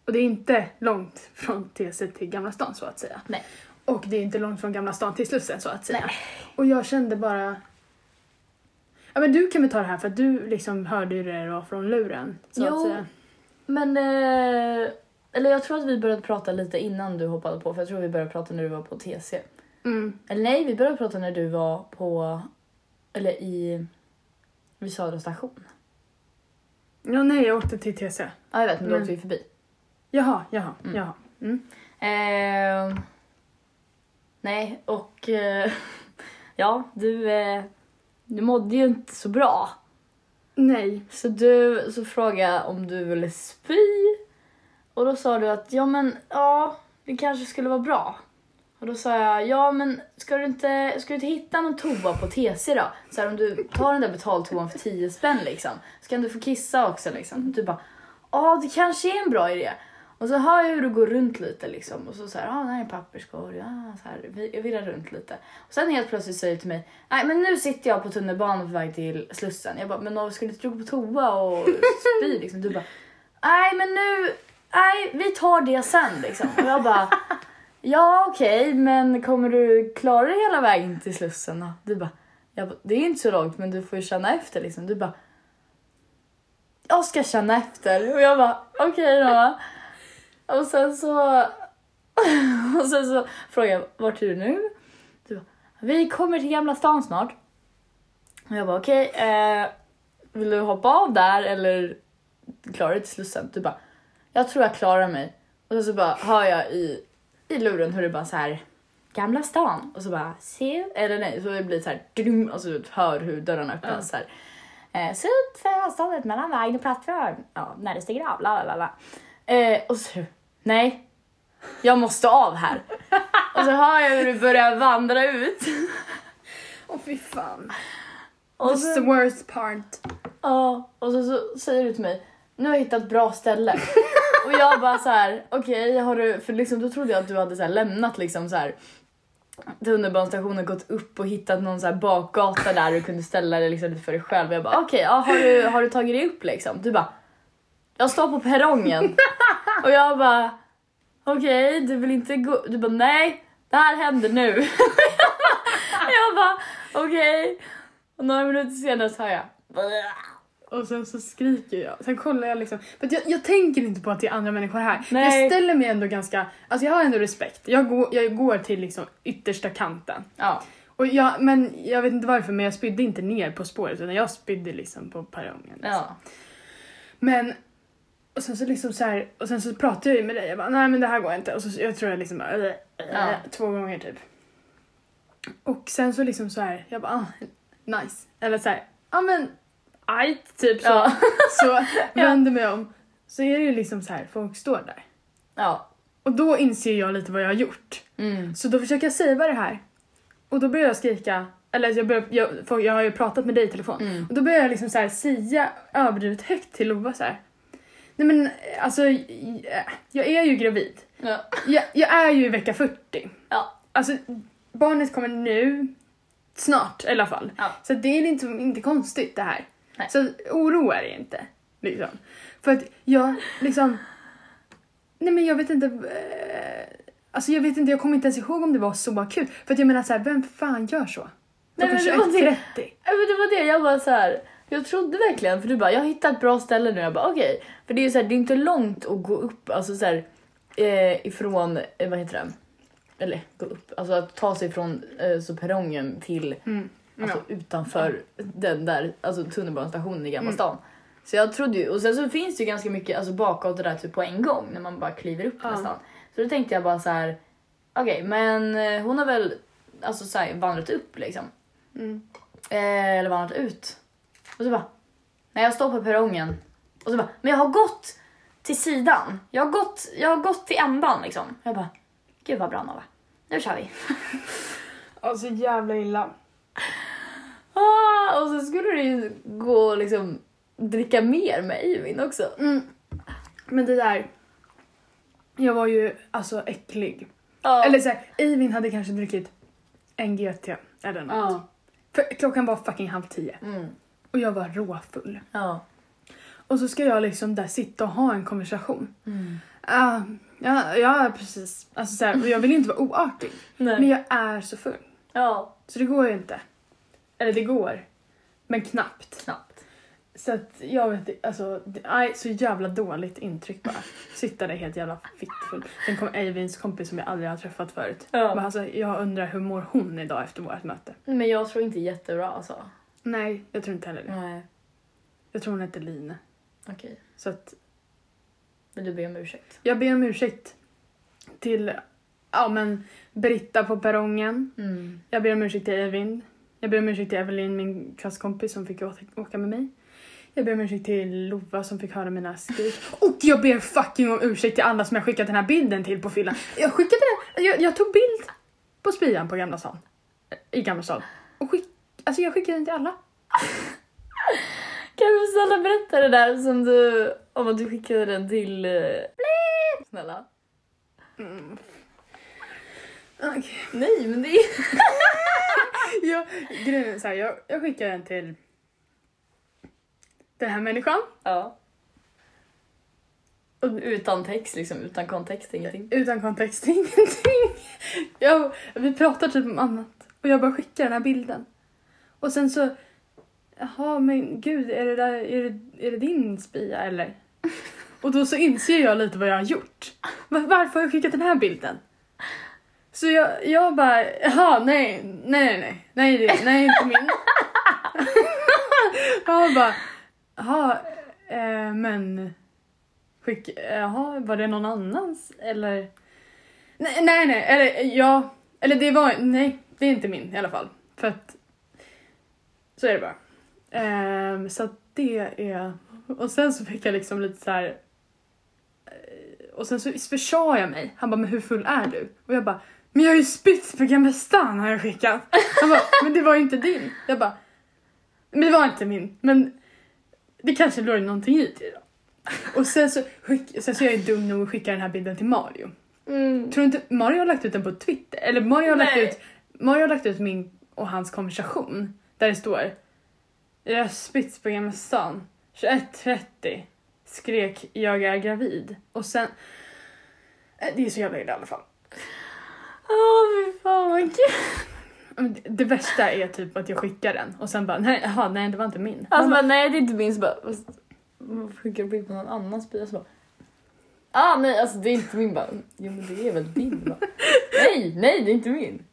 Speaker 2: Och det är inte långt från TC till Gamla stan så att säga.
Speaker 1: Nej.
Speaker 2: Och det är inte långt från Gamla stan till Slussen så att säga. Och jag kände bara... Ja men du kan väl ta det här för att du liksom hörde ju det då från luren. Så
Speaker 1: Jo.
Speaker 2: att säga.
Speaker 1: Men... Eh, eller jag tror att vi började prata lite innan du hoppade på. För jag tror vi började prata när du var på TC.
Speaker 2: Mm.
Speaker 1: Eller nej, vi började prata när du var på... Eller i... Vid Södra station.
Speaker 2: Ja nej jag åkte till TC.
Speaker 1: Ja, jag vet. Men då
Speaker 2: Mm.
Speaker 1: åkte vi förbi.
Speaker 2: Jaha, jaha,
Speaker 1: Mm.
Speaker 2: jaha.
Speaker 1: Ehm, nej, och eh, ja, du, eh, du mådde ju inte så bra.
Speaker 2: Nej.
Speaker 1: Så du så frågade jag om du ville spy och då sa du att ja men ja, det kanske skulle vara bra. Och då sa jag ja men ska du inte, ska du inte hitta någon toa på TC då? Så här, om du tar den där betaltoan för 10 spänn liksom, så kan du få kissa också liksom. Du bara ja det kanske är en bra idé. Och så hör jag hur du går runt lite liksom och så så här, ja ah, där är en papperskorg, ja så här, vi- jag virrar runt lite. Och sen helt plötsligt säger du till mig, nej men nu sitter jag på tunnelbanan på väg till Slussen. Jag bara, men Nova ska du inte gå på toa och spy liksom? Du bara, nej men nu, nej vi tar det sen liksom. Och jag bara, ja okej men kommer du klara dig hela vägen till Slussen då? Du bara, jag bara, det är inte så långt men du får ju känna efter liksom. Du bara, jag ska känna efter. Och jag bara, okej då. Och sen så... Och sen så frågade jag, vart är du nu? Du bara, Vi kommer till Gamla stan snart. Och jag bara okej, eh, vill du hoppa av där eller klarar du till Slussen? Du bara, jag tror jag klarar mig. Och så, så bara hör jag i, i luren hur det bara så här Gamla stan och så bara se eller nej så det blir så här dum och så hör hur dörrarna öppnas
Speaker 2: Ja.
Speaker 1: så här. Eh, se ut för avståndet mellan vägen och plattformen. Ja, när det stiger av, la la la la. Eh, och så, nej, jag måste av här. och så hör jag hur du börjar vandra ut.
Speaker 2: Åh fy fan.
Speaker 1: Och
Speaker 2: That's the
Speaker 1: så,
Speaker 2: worst part.
Speaker 1: ja, och så, så säger du till mig, nu har jag hittat ett bra ställe. och jag bara så här, okej, har du, för liksom då trodde jag att du hade så här lämnat liksom så här tunnelbanestationen, gått upp och hittat någon så här bakgata där du kunde ställa dig liksom lite för dig själv. Och jag bara, okej, ja, har, du, har du tagit dig upp liksom? Du bara, jag står på perrongen. och jag bara, okej, du vill inte gå? Du bara, nej, det här händer nu. jag bara, okej. Och några minuter senare sa jag,
Speaker 2: Och sen så skriker jag. Sen kollar jag liksom. För att jag, jag tänker inte på att det är andra människor här. Men
Speaker 1: Nej.
Speaker 2: Jag ställer mig ändå ganska... Alltså jag har ändå respekt. Jag går, jag går till liksom yttersta kanten.
Speaker 1: ja.
Speaker 2: Och jag, men jag vet inte varför men jag spydde inte ner på spåret utan jag spydde liksom på perrongen. liksom.
Speaker 1: ja.
Speaker 2: Men och sen så liksom så här, och sen så pratade jag ju med dig. Jag bara nej men det här går inte. Och så jag tror jag liksom bara, äh,
Speaker 1: Ja.
Speaker 2: äh, två gånger typ. Och sen så liksom så här, jag bara ah, nice. Eller så här, ja men ajt typ så.
Speaker 1: Ja.
Speaker 2: Så vänder mig om. Så är det ju liksom så här, folk står där.
Speaker 1: ja.
Speaker 2: Och då inser jag lite vad jag har gjort.
Speaker 1: Mm.
Speaker 2: Så då försöker jag savea det här. Och då börjar jag skrika, eller jag, börjar, jag, för jag har ju pratat med dig i telefon.
Speaker 1: Mm.
Speaker 2: Och då börjar jag liksom så här säga överdrivet högt till Lova så här. Nej men alltså, jag, jag är ju gravid.
Speaker 1: Ja.
Speaker 2: Jag, jag är ju i vecka 40.
Speaker 1: Ja.
Speaker 2: Alltså, barnet kommer nu, snart i alla fall.
Speaker 1: Ja.
Speaker 2: Så det är liksom inte konstigt det här.
Speaker 1: Nej.
Speaker 2: Så oroa er inte. Liksom. För att jag liksom... Nej men jag vet inte... Eh, alltså jag vet inte, jag kommer inte ens ihåg om det var så akut. För att jag menar så här, vem fan gör så?
Speaker 1: men
Speaker 2: Klockan
Speaker 1: det var det.
Speaker 2: 21.30.
Speaker 1: Ja, men det var det, jag bara så här. Jag trodde verkligen, för du bara jag har hittat ett bra ställe nu. Jag bara okej. För det är ju så här, det är inte långt att gå upp, alltså så här, eh, ifrån, eh, vad heter det? Eller gå upp, alltså att ta sig från eh, så perrongen till
Speaker 2: Mm.
Speaker 1: alltså, utanför den där alltså, tunnelbanestationen i Gamla stan. Så jag trodde ju, och sen så finns det ju ganska mycket alltså, bakåt det där typ på en gång när man bara kliver upp
Speaker 2: Ja.
Speaker 1: nästan. Så då tänkte jag bara så här, okej men eh, hon har väl alltså, så här, vandrat upp liksom.
Speaker 2: Mm.
Speaker 1: Eh, eller vandrat ut. Och så bara, när jag står på perrongen. Och så bara, men jag har gått till sidan. Jag har gått, jag har gått till ändan liksom. Jag bara, gud vad bra Nova. Nu kör vi.
Speaker 2: Alltså jävla illa.
Speaker 1: Ah, och så skulle du ju gå och liksom dricka mer med Eivind också.
Speaker 2: Mm. Men det där... Jag var ju alltså äcklig.
Speaker 1: Ja.
Speaker 2: Eller såhär, Eivind hade kanske druckit en GT eller något.
Speaker 1: Ja.
Speaker 2: För klockan var fucking halv tio
Speaker 1: Mm.
Speaker 2: och jag var råfull.
Speaker 1: Ja.
Speaker 2: Och så ska jag liksom där sitta och ha en konversation.
Speaker 1: Mm.
Speaker 2: Ah, ja, ja, precis. Alltså så här, och jag vill ju inte vara oartig.
Speaker 1: Nej.
Speaker 2: Men jag är så full.
Speaker 1: Ja.
Speaker 2: Så det går ju inte. Eller det går. Men knappt.
Speaker 1: Knappt.
Speaker 2: Så att jag vet inte, alltså, det- aj, så jävla dåligt intryck bara. Sitta där helt jävla fittfull. Sen kom Eivinds kompis som jag aldrig har träffat förut.
Speaker 1: Ja.
Speaker 2: Men alltså, jag undrar hur mår hon idag efter vårt möte?
Speaker 1: Men jag tror inte jättebra alltså.
Speaker 2: Nej, jag tror inte heller det.
Speaker 1: Nej.
Speaker 2: Jag tror hon heter Line.
Speaker 1: Okej.
Speaker 2: Så att
Speaker 1: Men du ber om ursäkt.
Speaker 2: jag ber om ursäkt till ja, men Britta på perrongen.
Speaker 1: Mm.
Speaker 2: Jag ber om ursäkt till Eivind. Jag ber om ursäkt till Evelyn, min klasskompis som fick åka- åka med mig. Jag ber om ursäkt till Lova som fick höra mina skrik. Och jag ber fucking om ursäkt till alla som jag skickat den här bilden till på fyllan. Jag skickade den, jag, jag tog bild på spyan på Gamla stan. I Gamla stan. Och skick, alltså jag skickade den till alla.
Speaker 1: Kan du snälla berätta det där som du, om att du skickade den till... eh, Snälla. Nej men det är...
Speaker 2: jag, grejen är så här, jag, jag skickar den till den här människan.
Speaker 1: Ja. Och utan text liksom, utan kontext, ingenting.
Speaker 2: Utan kontext, ingenting. Jag, vi pratar typ om annat och jag bara skickar den här bilden. Och sen så, jaha men gud, är det, där, är det, är det din spya eller? Och då så inser jag lite vad jag har gjort. Va- varför har jag skickat den här bilden? Så jag, jag bara, jaha nej, nej, nej, nej, nej, det- nej, inte min. jag bara, jaha, eh, men skick, jaha, var det någon annans eller? Nej, nej, nej, eller ja, eller det var, nej, det är inte min i alla fall. För att, så är det bara. Ehm, så att det är, och sen så fick jag liksom lite så här. eh, Och sen så försade jag mig. Han bara, men hur full är du? Och jag bara, men jag har ju spytt på gamla stan har jag skickat. Han bara, men det var ju inte din. Jag bara, men det var inte min. Men det kanske låg någonting i det då. Och sen så, skick, sen så är jag ju dum nog att skicka den här bilden till Mario.
Speaker 1: Mm.
Speaker 2: Tror du inte Mario har lagt ut den på Twitter? Eller Mario har, lagt
Speaker 1: Nej.
Speaker 2: ut, Mario har lagt ut min och hans konversation. Där det står Jag har spytt på Gamla stan. 21.30 skrek jag är gravid. Och sen... Eh, Det är så jävla illa i alla fall.
Speaker 1: Åh fy fan vad kul.
Speaker 2: Men det- Det värsta är typ att jag skickar den och sen bara nej, aha, nej det var inte min.
Speaker 1: Alltså
Speaker 2: Man bara,
Speaker 1: bara, nej det är inte min. Så bara, fast, man skickar bild på någon annans bil och så bara. Ah nej alltså det är inte min bara. Jo men det är väl din bara. Nej, nej det är inte min.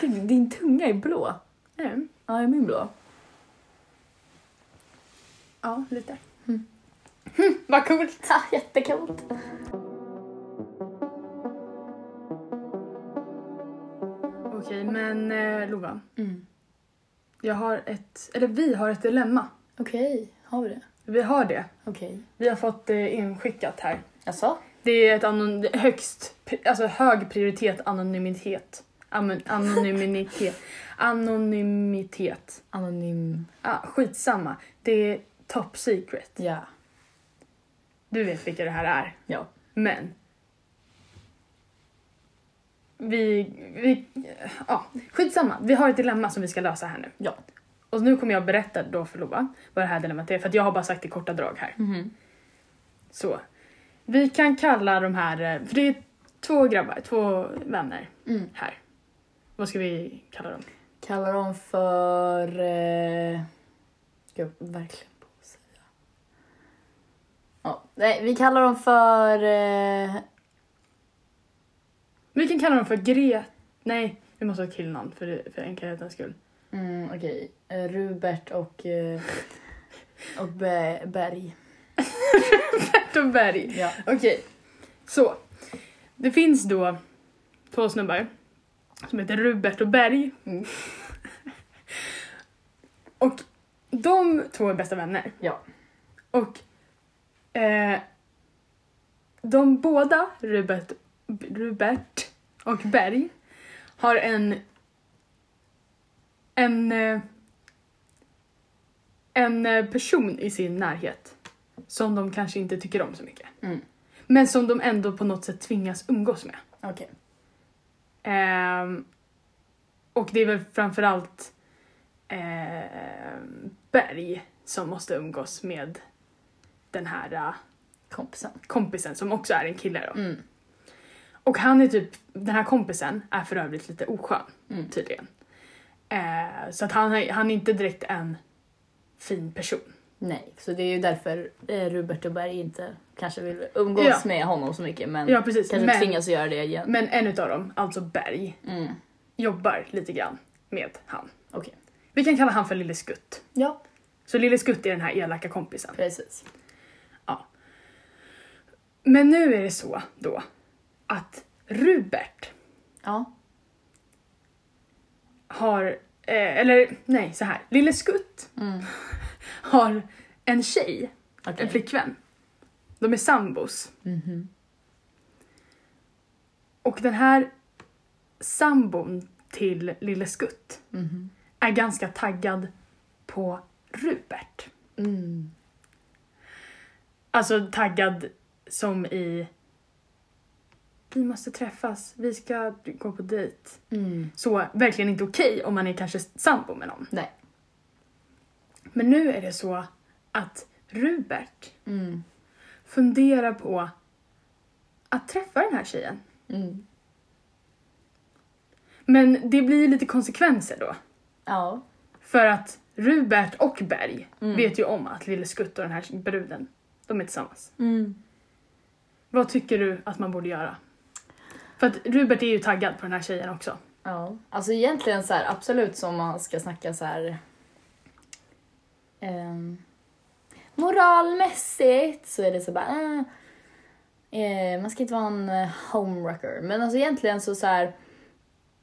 Speaker 1: Din, din tunga är blå.
Speaker 2: nej.
Speaker 1: Ja, är min blå?
Speaker 2: Ja, lite. Mm. Vad coolt!
Speaker 1: Ja, jättekult.
Speaker 2: Okej, men eh, Lova,
Speaker 1: Mm.
Speaker 2: jag har ett, eller vi har ett dilemma.
Speaker 1: Okej, har vi det?
Speaker 2: Vi har det.
Speaker 1: Okej. Okay.
Speaker 2: Vi har fått det inskickat här.
Speaker 1: Jaså?
Speaker 2: Det är ett anon- det är högst, pri- alltså hög prioritet anonymitet. Amen, anonymitet. Anonymitet.
Speaker 1: Anonym.
Speaker 2: Ah, skitsamma. Det är top secret.
Speaker 1: Ja.
Speaker 2: Du vet vilka det här är.
Speaker 1: Ja.
Speaker 2: Men. Vi, vi, ja, skitsamma. Vi har ett dilemma som vi ska lösa här nu.
Speaker 1: Ja.
Speaker 2: Och nu kommer jag berätta då för Lova vad det här dilemmat är, för att jag har bara sagt i korta drag här.
Speaker 1: Mm-hmm.
Speaker 2: Så. Vi kan kalla de här, eh, för det är två grabbar, två vänner
Speaker 1: Mm.
Speaker 2: här. Vad ska vi kalla dem?
Speaker 1: Kallar dem för... Eh... Jag verkligen på att säga. Ja. Nej, vi kallar dem för... Eh...
Speaker 2: Vi kan kalla dem för Gre... Nej, vi måste ha killnamn för, för enkelhetens skull.
Speaker 1: Mm, Okej. Eh, Rubert och... Eh... Och Be- Berg.
Speaker 2: Berton Berg.
Speaker 1: Ja.
Speaker 2: Okej, så. Det finns då två snubbar som heter Rubert och Berg.
Speaker 1: Mm.
Speaker 2: och de två är bästa vänner.
Speaker 1: Ja.
Speaker 2: Och eh, de båda, Rubert, Rubert och Berg, har en en, eh, en eh, person i sin närhet som de kanske inte tycker om så mycket.
Speaker 1: Mm.
Speaker 2: Men som de ändå på något sätt tvingas umgås med.
Speaker 1: Okej.
Speaker 2: Ehm, och det är väl framförallt ehm, Berg som måste umgås med den här eh,
Speaker 1: Kompisen.
Speaker 2: kompisen som också är en kille då.
Speaker 1: Mm.
Speaker 2: Och han är typ, den här kompisen är för övrigt lite oskön
Speaker 1: Mm.
Speaker 2: tydligen. Eh, så att han, är- han är inte direkt en fin person.
Speaker 1: Nej, så det är ju därför eh, Rubert och Berg inte kanske vill umgås
Speaker 2: Ja.
Speaker 1: med honom så mycket men
Speaker 2: Ja precis.
Speaker 1: kanske
Speaker 2: Men,
Speaker 1: tvingas göra det igen.
Speaker 2: men en utav dem, alltså Berg,
Speaker 1: Mm.
Speaker 2: jobbar lite grann med han.
Speaker 1: Okej.
Speaker 2: Vi kan kalla han för Lille Skutt.
Speaker 1: Ja,
Speaker 2: Så Lille Skutt är den här elaka kompisen.
Speaker 1: precis.
Speaker 2: Men nu är det så då att Rubert
Speaker 1: Ja.
Speaker 2: har, eh, eller nej så här, Lille Skutt
Speaker 1: Mm.
Speaker 2: har en tjej,
Speaker 1: Okej.
Speaker 2: en flickvän. De är sambos.
Speaker 1: Mhm.
Speaker 2: Och den här sambon till Lille Skutt
Speaker 1: Mhm.
Speaker 2: är ganska taggad på Rubert.
Speaker 1: Mm.
Speaker 2: Alltså taggad som i vi måste träffas, vi ska gå på dejt.
Speaker 1: Mm.
Speaker 2: Så verkligen inte okej om man är kanske sambo med någon.
Speaker 1: Nej.
Speaker 2: Men nu är det så att Rubert
Speaker 1: Mm.
Speaker 2: funderar på att träffa den här tjejen.
Speaker 1: Mm.
Speaker 2: Men det blir lite konsekvenser då.
Speaker 1: Ja.
Speaker 2: För att Rubert och Berg
Speaker 1: Mm.
Speaker 2: vet ju om att Lille Skutt och den här bruden, de är tillsammans.
Speaker 1: Mm.
Speaker 2: Vad tycker du att man borde göra? För att Rubert är ju taggad på den här tjejen också.
Speaker 1: Ja, alltså egentligen så här, absolut som man ska snacka så här. ehm, moralmässigt så är det så bara. eh, eh, man ska inte vara en eh, homewrecker. Men alltså egentligen så så här.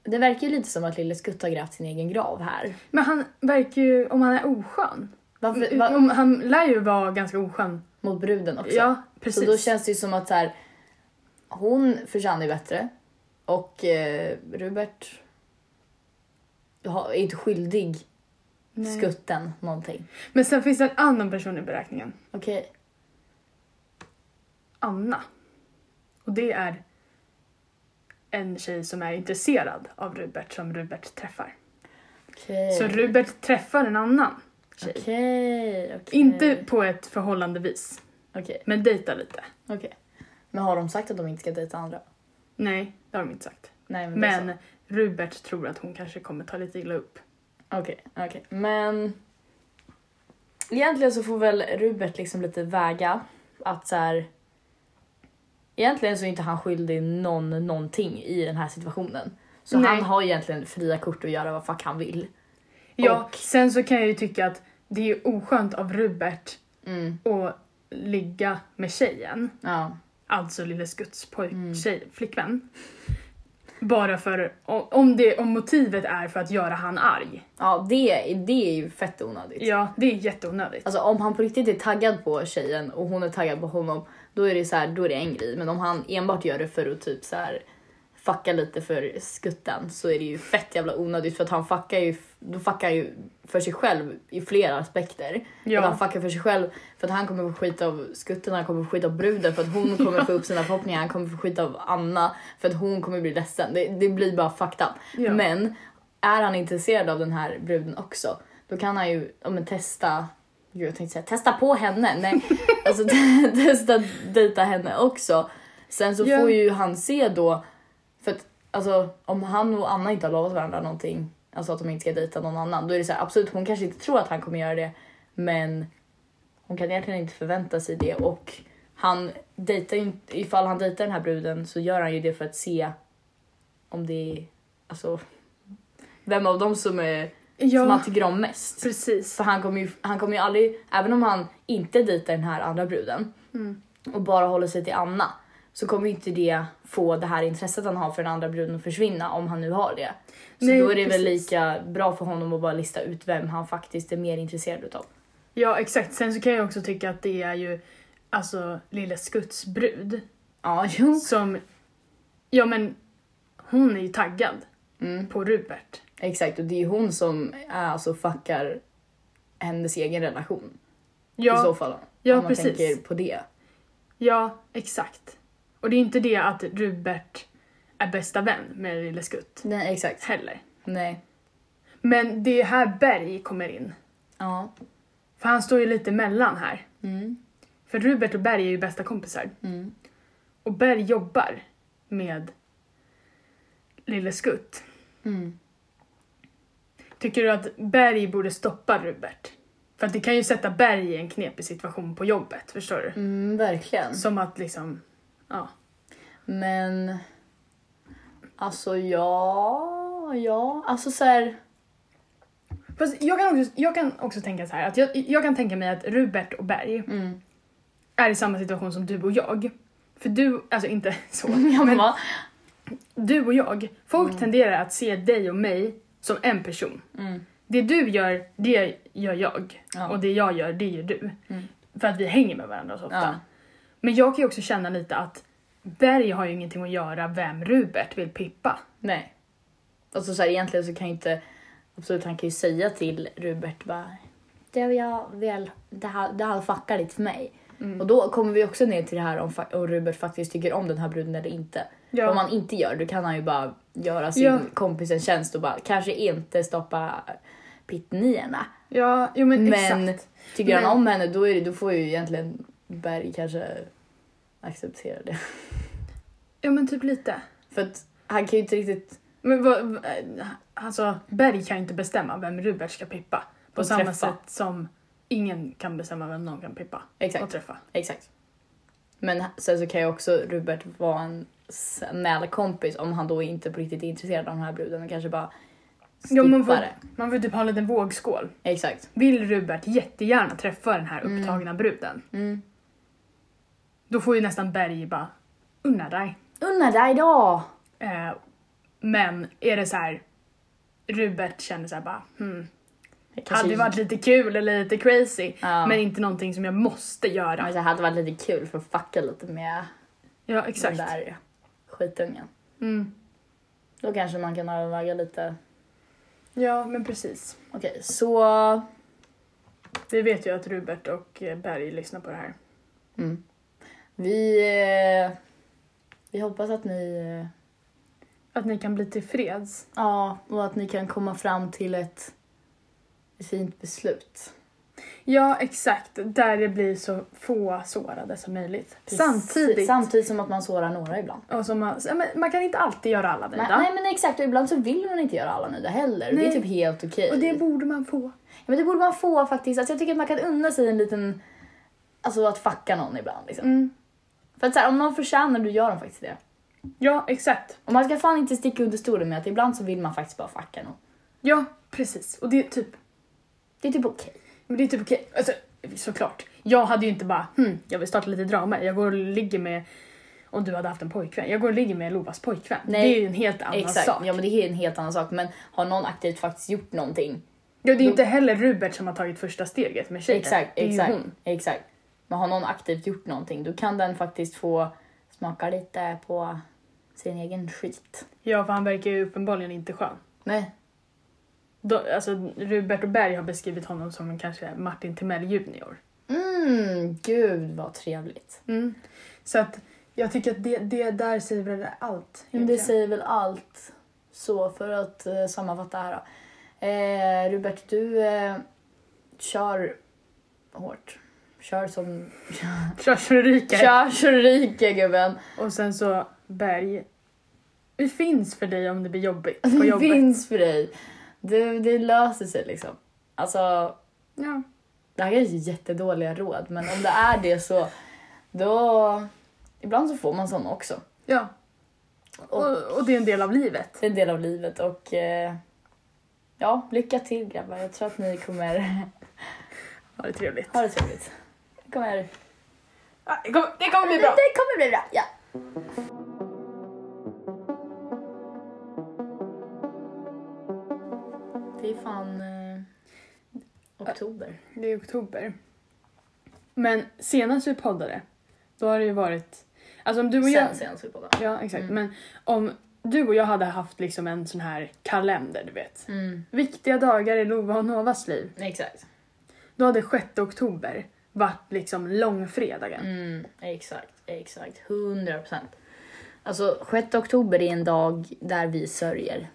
Speaker 1: Det verkar ju lite som att Lille Skutt har grävt sin egen grav här.
Speaker 2: Men han verkar ju, om han är oskön. Mm,
Speaker 1: Varför, va,
Speaker 2: Om, han lär ju vara ganska oskön.
Speaker 1: mot bruden också.
Speaker 2: Ja,
Speaker 1: så
Speaker 2: precis.
Speaker 1: då känns det ju som att så här, hon förtjänar ju bättre och eh, Rubert har- är inte skyldig
Speaker 2: Nej.
Speaker 1: skutten någonting.
Speaker 2: Men sen finns det en annan person i beräkningen.
Speaker 1: Okej.
Speaker 2: Anna. Och det är en tjej som är intresserad av Rubert som Rubert träffar.
Speaker 1: Okej.
Speaker 2: Så Rubert träffar en annan tjej.
Speaker 1: Okej, okej.
Speaker 2: Inte på ett förhållandevis,
Speaker 1: Okej,
Speaker 2: men dejtar lite.
Speaker 1: okej. Men har de sagt att de inte ska dejta andra?
Speaker 2: Nej, det har de inte sagt.
Speaker 1: Nej, men... det är
Speaker 2: Men Rubert tror att hon kanske kommer ta lite illa upp.
Speaker 1: så. Okej, okej. Men... Egentligen så får väl Rubert liksom lite väga att så här... Egentligen så är inte han skyldig någon någonting i den här situationen. Så
Speaker 2: Nej.
Speaker 1: han har egentligen fria kort att göra vad fuck han vill.
Speaker 2: Ja, sen så kan jag ju tycka att det är oskönt av Rubert
Speaker 1: Mm.
Speaker 2: att ligga med tjejen,
Speaker 1: Ja.
Speaker 2: alltså lille Skutts
Speaker 1: Mm.
Speaker 2: pojk, tjej, flickvän. Bara för, o- om, det, om motivet är för att göra han arg.
Speaker 1: ja, det, det är ju fett onödigt.
Speaker 2: Ja, det är jätteonödigt.
Speaker 1: Alltså om han på riktigt är taggad på tjejen och hon är taggad på honom, då är det så här, då är det en grej. Men om han enbart gör det för att typ så här fucka lite för skutten så är det ju fett jävla onödigt för att han fuckar ju, då fuckar han ju för sig själv i flera aspekter.
Speaker 2: Ja.
Speaker 1: Och han fuckar för sig själv för att han kommer få skit av skutten, han kommer få skit av bruden för att hon kommer få upp sina förhoppningar, han kommer få skit av Anna för att hon kommer bli ledsen. Det, det blir bara fucked up.
Speaker 2: Ja.
Speaker 1: Men är han intresserad av den här bruden också, då kan han ju ja, men, testa Gud, jag tänkte säga testa på henne. Nej, alltså te- testa dejta henne också. Sen så
Speaker 2: Ja.
Speaker 1: får ju han se då, för att alltså, om han och Anna inte har lovat varandra någonting, alltså att de inte ska dejta någon annan, då är det så här, absolut hon kanske inte tror att han kommer göra det, men hon kan egentligen inte förvänta sig det och han dejtar ju inte, ifall han dejtar den här bruden så gör han ju det för att se om det är, alltså vem av dem som, är, som
Speaker 2: Ja,
Speaker 1: han tycker om mest.
Speaker 2: precis.
Speaker 1: För han kommer, ju, han kommer ju aldrig, även om han inte dejtar den här andra bruden
Speaker 2: Mm.
Speaker 1: och bara håller sig till Anna så kommer ju inte det få det här intresset han har för den andra bruden att försvinna om han nu har det. Så
Speaker 2: Nej,
Speaker 1: då är det väl
Speaker 2: precis.
Speaker 1: lika bra för honom att bara lista ut vem han faktiskt är mer intresserad utav.
Speaker 2: Ja, exakt. Sen så kan jag också tycka att det är ju, alltså, lille Skutts brud
Speaker 1: Ja, jo.
Speaker 2: som, ja men, hon är ju taggad
Speaker 1: Mm,
Speaker 2: på Rupert.
Speaker 1: exakt, och det är ju hon som äh, alltså fuckar hennes egen relation i så
Speaker 2: Ja,
Speaker 1: fall.
Speaker 2: ja,
Speaker 1: om man
Speaker 2: precis.
Speaker 1: tänker på det.
Speaker 2: ja, exakt. Och det är inte det att Rupert är bästa vän med lille Skutt
Speaker 1: Nej, exakt.
Speaker 2: heller.
Speaker 1: Nej.
Speaker 2: Men det är här Berg kommer in.
Speaker 1: Ja.
Speaker 2: För han står ju lite mellan här.
Speaker 1: Mm.
Speaker 2: För Rupert och Berg är ju bästa kompisar.
Speaker 1: Mm.
Speaker 2: Och Berg jobbar med lille Skutt.
Speaker 1: Mm.
Speaker 2: Tycker du att Berg borde stoppa Rubert? För att det kan ju sätta Berg i en knepig situation på jobbet, förstår du?
Speaker 1: Mm, verkligen.
Speaker 2: Som att liksom, ja.
Speaker 1: Men... Alltså, ja... Ja, alltså så här...
Speaker 2: Fast jag kan också, jag kan också tänka så här, att jag, jag kan tänka mig att Rubert och Berg
Speaker 1: Mm.
Speaker 2: är i samma situation som du och jag. För du, alltså inte så,
Speaker 1: Ja, Mm. men,
Speaker 2: men du och jag, folk tenderar att se dig och mig som en person.
Speaker 1: mm.
Speaker 2: Det du gör, det gör jag.
Speaker 1: Ja.
Speaker 2: Och det jag gör, det gör du.
Speaker 1: Mm.
Speaker 2: För att vi hänger med varandra så ofta.
Speaker 1: Ja.
Speaker 2: Men jag kan ju också känna lite att Berg har ju ingenting att göra vem Rubert vill pippa.
Speaker 1: Nej. Alltså så här, egentligen så kan ju inte... Absolut, han kan ju säga till Rubert bara... Det, vill jag väl, det, här, det här fuckar lite för mig.
Speaker 2: Mm.
Speaker 1: Och då kommer vi också ner till det här om, fa- om Rubert faktiskt tycker om den här bruden eller inte.
Speaker 2: Ja.
Speaker 1: Om han inte gör det kan han ju bara göra sin
Speaker 2: Ja.
Speaker 1: kompis en tjänst och bara kanske inte stoppa pittnierna.
Speaker 2: Ja, jo men,
Speaker 1: Men
Speaker 2: exakt.
Speaker 1: tycker
Speaker 2: Men-
Speaker 1: han om henne då, är det, då får ju egentligen Berg kanske acceptera det.
Speaker 2: Ja men typ lite.
Speaker 1: För att han kan ju inte riktigt
Speaker 2: Men vad, vad- alltså Berg kan ju inte bestämma vem Rubert ska pippa. På
Speaker 1: Och
Speaker 2: samma
Speaker 1: träffa.
Speaker 2: sätt som ingen kan bestämma vem någon kan pippa
Speaker 1: Exakt.
Speaker 2: och träffa.
Speaker 1: Exakt. Men sen så kan ju också Rupert vara en snäll kompis om han då inte på riktigt är intresserad av den här bruden och kanske bara
Speaker 2: Ja,
Speaker 1: skippar
Speaker 2: men vad-
Speaker 1: det.
Speaker 2: Man får typ ha en liten vågskål.
Speaker 1: Exakt.
Speaker 2: Vill Rubert jättegärna träffa den här
Speaker 1: Mm.
Speaker 2: upptagna bruden,
Speaker 1: Mm.
Speaker 2: då får ju nästan Berg bara unna dig.
Speaker 1: Unna dig då!
Speaker 2: Eh, men är det så här, Rubert känner så här bara hmm,
Speaker 1: Kanske-
Speaker 2: hade det varit lite kul eller lite crazy,
Speaker 1: Ja.
Speaker 2: men inte någonting som jag måste göra.
Speaker 1: Men det hade varit lite kul för att fucka lite med
Speaker 2: Ja,
Speaker 1: den
Speaker 2: exakt.
Speaker 1: där skitungen.
Speaker 2: Mm.
Speaker 1: Då kanske man kan överväga lite.
Speaker 2: Ja, men precis.
Speaker 1: Okej, så...
Speaker 2: Vi vet ju att Rubert och eh, Berg lyssnar på det här.
Speaker 1: Mm. Vi... eh, Vi hoppas att ni... eh,
Speaker 2: Att ni kan bli tillfreds.
Speaker 1: Ja, och att ni kan komma fram till ett fint beslut.
Speaker 2: Ja, exakt. Där det blir så få sårade som möjligt. Samtidigt.
Speaker 1: Samtidigt som att man sårar några ibland.
Speaker 2: och som man, ja, men man kan inte alltid göra alla
Speaker 1: Men,
Speaker 2: nöjda.
Speaker 1: nej men exakt, och ibland så vill man inte göra alla nöjda heller. Det är
Speaker 2: Nej.
Speaker 1: typ helt okej.
Speaker 2: Och det borde man få.
Speaker 1: Ja, men det borde man få faktiskt. Alltså, jag tycker att man kan unna sig en liten... Alltså att fucka någon ibland
Speaker 2: Mm.
Speaker 1: liksom. För att så här, om någon förtjänar du gör de faktiskt det.
Speaker 2: Ja, exakt.
Speaker 1: Och man ska fan inte sticka under stolen med att ibland så vill man faktiskt bara fucka någon.
Speaker 2: Ja, precis. Och det är typ,
Speaker 1: Det är typ okej.
Speaker 2: men det är typ okej. Alltså, såklart. Jag hade ju inte bara, hm, jag vill starta lite drama. Jag går och ligger med, om du hade haft en pojkvän, jag går och ligger med Lovas pojkvän.
Speaker 1: Nej.
Speaker 2: Det är ju en helt annan
Speaker 1: Exakt.
Speaker 2: sak.
Speaker 1: Ja men det är en helt annan sak. Men har någon aktivt faktiskt gjort någonting.
Speaker 2: Ja, det är ju inte heller Rubert som har tagit första steget med tjejen.
Speaker 1: Exakt,
Speaker 2: det är ju
Speaker 1: exakt,
Speaker 2: hon.
Speaker 1: exakt. Men har någon aktivt gjort någonting då kan den faktiskt få smaka lite på sin egen skit.
Speaker 2: Ja, för han verkar ju uppenbarligen inte skön.
Speaker 1: Nej.
Speaker 2: Då, alltså, Rubert och Berg har beskrivit honom som en kanske Martin Timell junior.
Speaker 1: Mm, gud vad trevligt.
Speaker 2: Så att jag tycker att det, det där säger väl allt.
Speaker 1: Men det
Speaker 2: egentligen.
Speaker 1: säger väl allt. Så för att eh, sammanfatta här då. Eh, Rubert, du eh, kör hårt. Kör som...
Speaker 2: Kör så det ryker.
Speaker 1: Kör så du ryker gubben.
Speaker 2: Och sen så Berg. Vi finns för dig om det blir jobbigt på
Speaker 1: Det
Speaker 2: jobbet.
Speaker 1: finns för dig. Det, det löser sig liksom. Alltså,
Speaker 2: Ja.
Speaker 1: Det här kanske är jättedåliga råd, men om det är det så då... Ibland så får man såna också.
Speaker 2: ja.
Speaker 1: Och
Speaker 2: Och, och det är en del av livet.
Speaker 1: det är en del av livet och... eh, Ja, lycka till grabbar. Jag tror att ni kommer
Speaker 2: Ja, det är trevligt.
Speaker 1: ha det trevligt. Det kommer,
Speaker 2: Ja, Det kommer, det kommer bli bra.
Speaker 1: det kommer bli bra. Ja. Det är fan eh, oktober.
Speaker 2: Det är oktober. Men senast vi poddade, då har det ju varit... Alltså om du och jag...
Speaker 1: Sen senast vi poddade.
Speaker 2: Ja, exakt.
Speaker 1: Mm.
Speaker 2: Men om du och jag hade haft liksom en sån här kalender, du vet.
Speaker 1: Mm,
Speaker 2: Viktiga dagar i Lova och Novas liv.
Speaker 1: exakt.
Speaker 2: Då hade 6 oktober varit liksom långfredagen.
Speaker 1: Mm, exakt, exakt. 100 procent. Alltså 6 oktober är en dag där vi sörjer.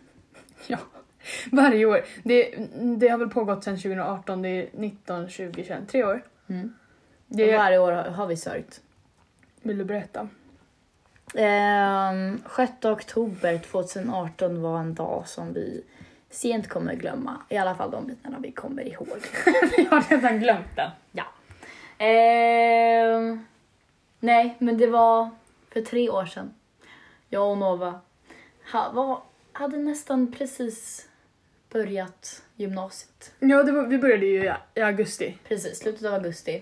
Speaker 2: Ja, varje år. Det, det har väl pågått sedan 2018, det är 19, 20, 21, tre år.
Speaker 1: Mm.
Speaker 2: Det,
Speaker 1: Varje år har- har vi sörjt.
Speaker 2: Vill du berätta?
Speaker 1: Ehm, 6 oktober 2018 var en dag som vi sent kommer glömma. I alla fall de bitarna vi kommer ihåg.
Speaker 2: Jag har redan glömt den.
Speaker 1: Ehm, nej, men det var för tre år sedan. Jag och Nova ha, var, hade nästan precis börjat gymnasiet.
Speaker 2: Ja, det var, vi började ju i, i augusti.
Speaker 1: Precis, slutet av augusti.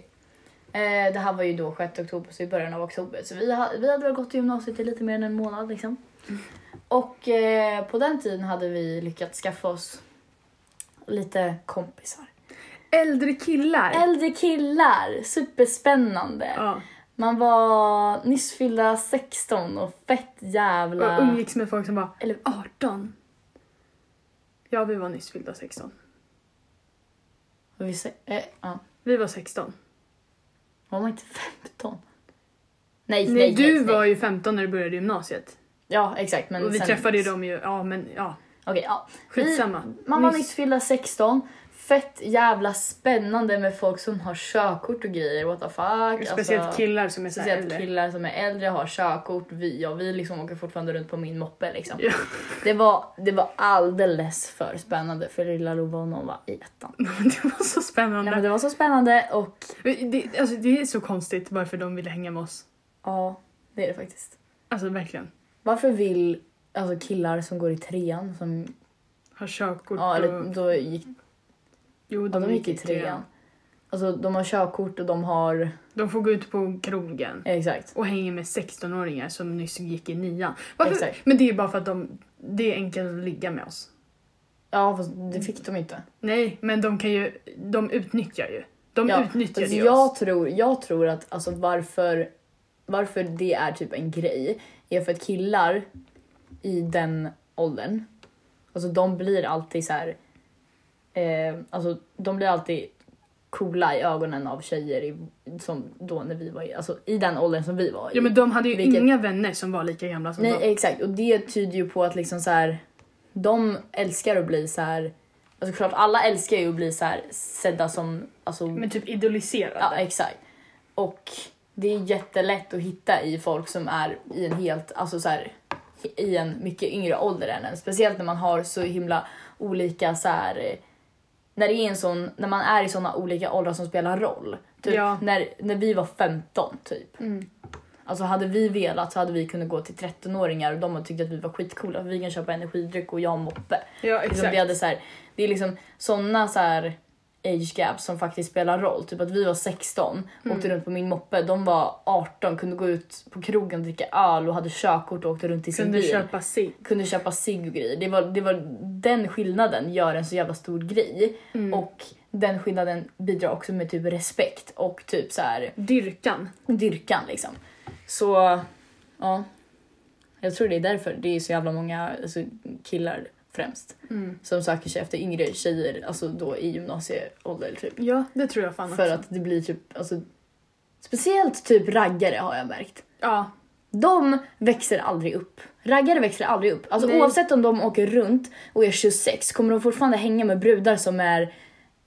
Speaker 1: Eh, det här var ju då 6 oktober, så i början av oktober. Så vi, ha, vi hade väl gått i gymnasiet i lite mer än en månad liksom. Och eh, på den tiden hade vi lyckats skaffa oss lite kompisar.
Speaker 2: Äldre killar.
Speaker 1: Äldre killar, superspännande.
Speaker 2: ja.
Speaker 1: Man var nyss fyllda 16 och fett jävla...
Speaker 2: Och umgicks med folk som var
Speaker 1: Eller-
Speaker 2: 18. Ja, vi var nyss fyllda 16.
Speaker 1: Vad vi sä- eh, ja.
Speaker 2: Vi var 16.
Speaker 1: Var man inte 15? Nej,
Speaker 2: Nej,
Speaker 1: nej, nej.
Speaker 2: du
Speaker 1: nej.
Speaker 2: var ju 15 när du började gymnasiet.
Speaker 1: Ja, exakt. Men
Speaker 2: och vi
Speaker 1: sen-
Speaker 2: träffade ju dem ju, ja men ja.
Speaker 1: Okej, ja. Vi,
Speaker 2: Skitsamma.
Speaker 1: Man var nyss fyllda 16. Fett jävla spännande med folk som har körkort och grejer. What the fuck.
Speaker 2: Speciellt
Speaker 1: alltså,
Speaker 2: killar som är så här
Speaker 1: speciellt
Speaker 2: äldre.
Speaker 1: killar som är äldre har körkort. Vi, ja, vi liksom åker fortfarande runt på min moppe. Liksom.
Speaker 2: Ja.
Speaker 1: Det, var, det var alldeles för spännande för lilla Lova och Nova i ettan.
Speaker 2: det var så spännande.
Speaker 1: Nej, men det var så spännande och
Speaker 2: Det, alltså, det är så konstigt varför de ville hänga med oss.
Speaker 1: Ja, det är det faktiskt.
Speaker 2: Alltså verkligen.
Speaker 1: Varför vill alltså, killar som går i trean som...
Speaker 2: Har körkort
Speaker 1: Ja,
Speaker 2: och...
Speaker 1: eller då gick,
Speaker 2: Jo,
Speaker 1: ja, de gick i trean. Alltså de har körkort och de har...
Speaker 2: De får gå ut på krogen
Speaker 1: Exakt.
Speaker 2: och hänga med 16-åringar som nyss gick i nian. Varför?
Speaker 1: Exakt.
Speaker 2: Men det är bara för att de... Det är enkelt att ligga med oss.
Speaker 1: Ja, fast det fick de inte.
Speaker 2: Nej, men de kan ju... De utnyttjar ju. De
Speaker 1: Ja,
Speaker 2: utnyttjar
Speaker 1: Alltså,
Speaker 2: ju
Speaker 1: jag,
Speaker 2: oss.
Speaker 1: tror, jag tror att alltså, varför, varför det är typ en grej är för att killar i den åldern, alltså de blir alltid så här, eh, alltså de blir alltid coola i ögonen av tjejer i, som då när vi var i, alltså i den åldern som vi var i.
Speaker 2: Ja, men de hade ju
Speaker 1: Vilket-
Speaker 2: inga vänner som var lika gamla som dem.
Speaker 1: Nej exakt och det tyder ju på att liksom så här, de älskar att bli så här, alltså klart alla älskar ju att bli så här sedda som, alltså
Speaker 2: Men typ idoliserade.
Speaker 1: Ja, exakt. Och det är jättelätt att hitta i folk som är i en helt, alltså så här, i en mycket yngre ålder än en. Speciellt när man har så himla olika så här, eh, när det är en sån, när man är i såna olika åldrar som spelar roll. Typ
Speaker 2: Ja.
Speaker 1: när, när vi var 15 typ. Alltså hade vi velat så hade vi kunnat gå till 13-åringar och de har tyckt att vi var skitcoola för vi kan köpa energidryck och jag och moppe.
Speaker 2: ja
Speaker 1: Liksom,
Speaker 2: exakt.
Speaker 1: vi hade så här, det är liksom såna så här age gaps som faktiskt spelar roll. Typ att vi var 16,
Speaker 2: Mm.
Speaker 1: åkte runt på min moppe. De var 18, kunde gå ut på krogen och dricka öl och hade körkort och åkte runt i sin
Speaker 2: Kunde
Speaker 1: bil.
Speaker 2: köpa sig.
Speaker 1: Kunde köpa cigg och grejer. Det var, det var den skillnaden gör en så jävla stor grej.
Speaker 2: Mm.
Speaker 1: Och den skillnaden bidrar också med typ respekt och typ så här
Speaker 2: Dyrkan.
Speaker 1: dyrkan liksom. Så ja, jag tror det är därför det är så jävla många alltså, killar främst som söker sig efter yngre tjejer, alltså då i gymnasieålder typ.
Speaker 2: Ja, det tror jag fan
Speaker 1: För
Speaker 2: också.
Speaker 1: att det blir typ, alltså speciellt typ raggare har jag märkt.
Speaker 2: Ja,
Speaker 1: De växer aldrig upp. Raggare växer aldrig upp. Alltså
Speaker 2: Nej.
Speaker 1: oavsett om de åker runt och är 26 kommer de fortfarande hänga med brudar som är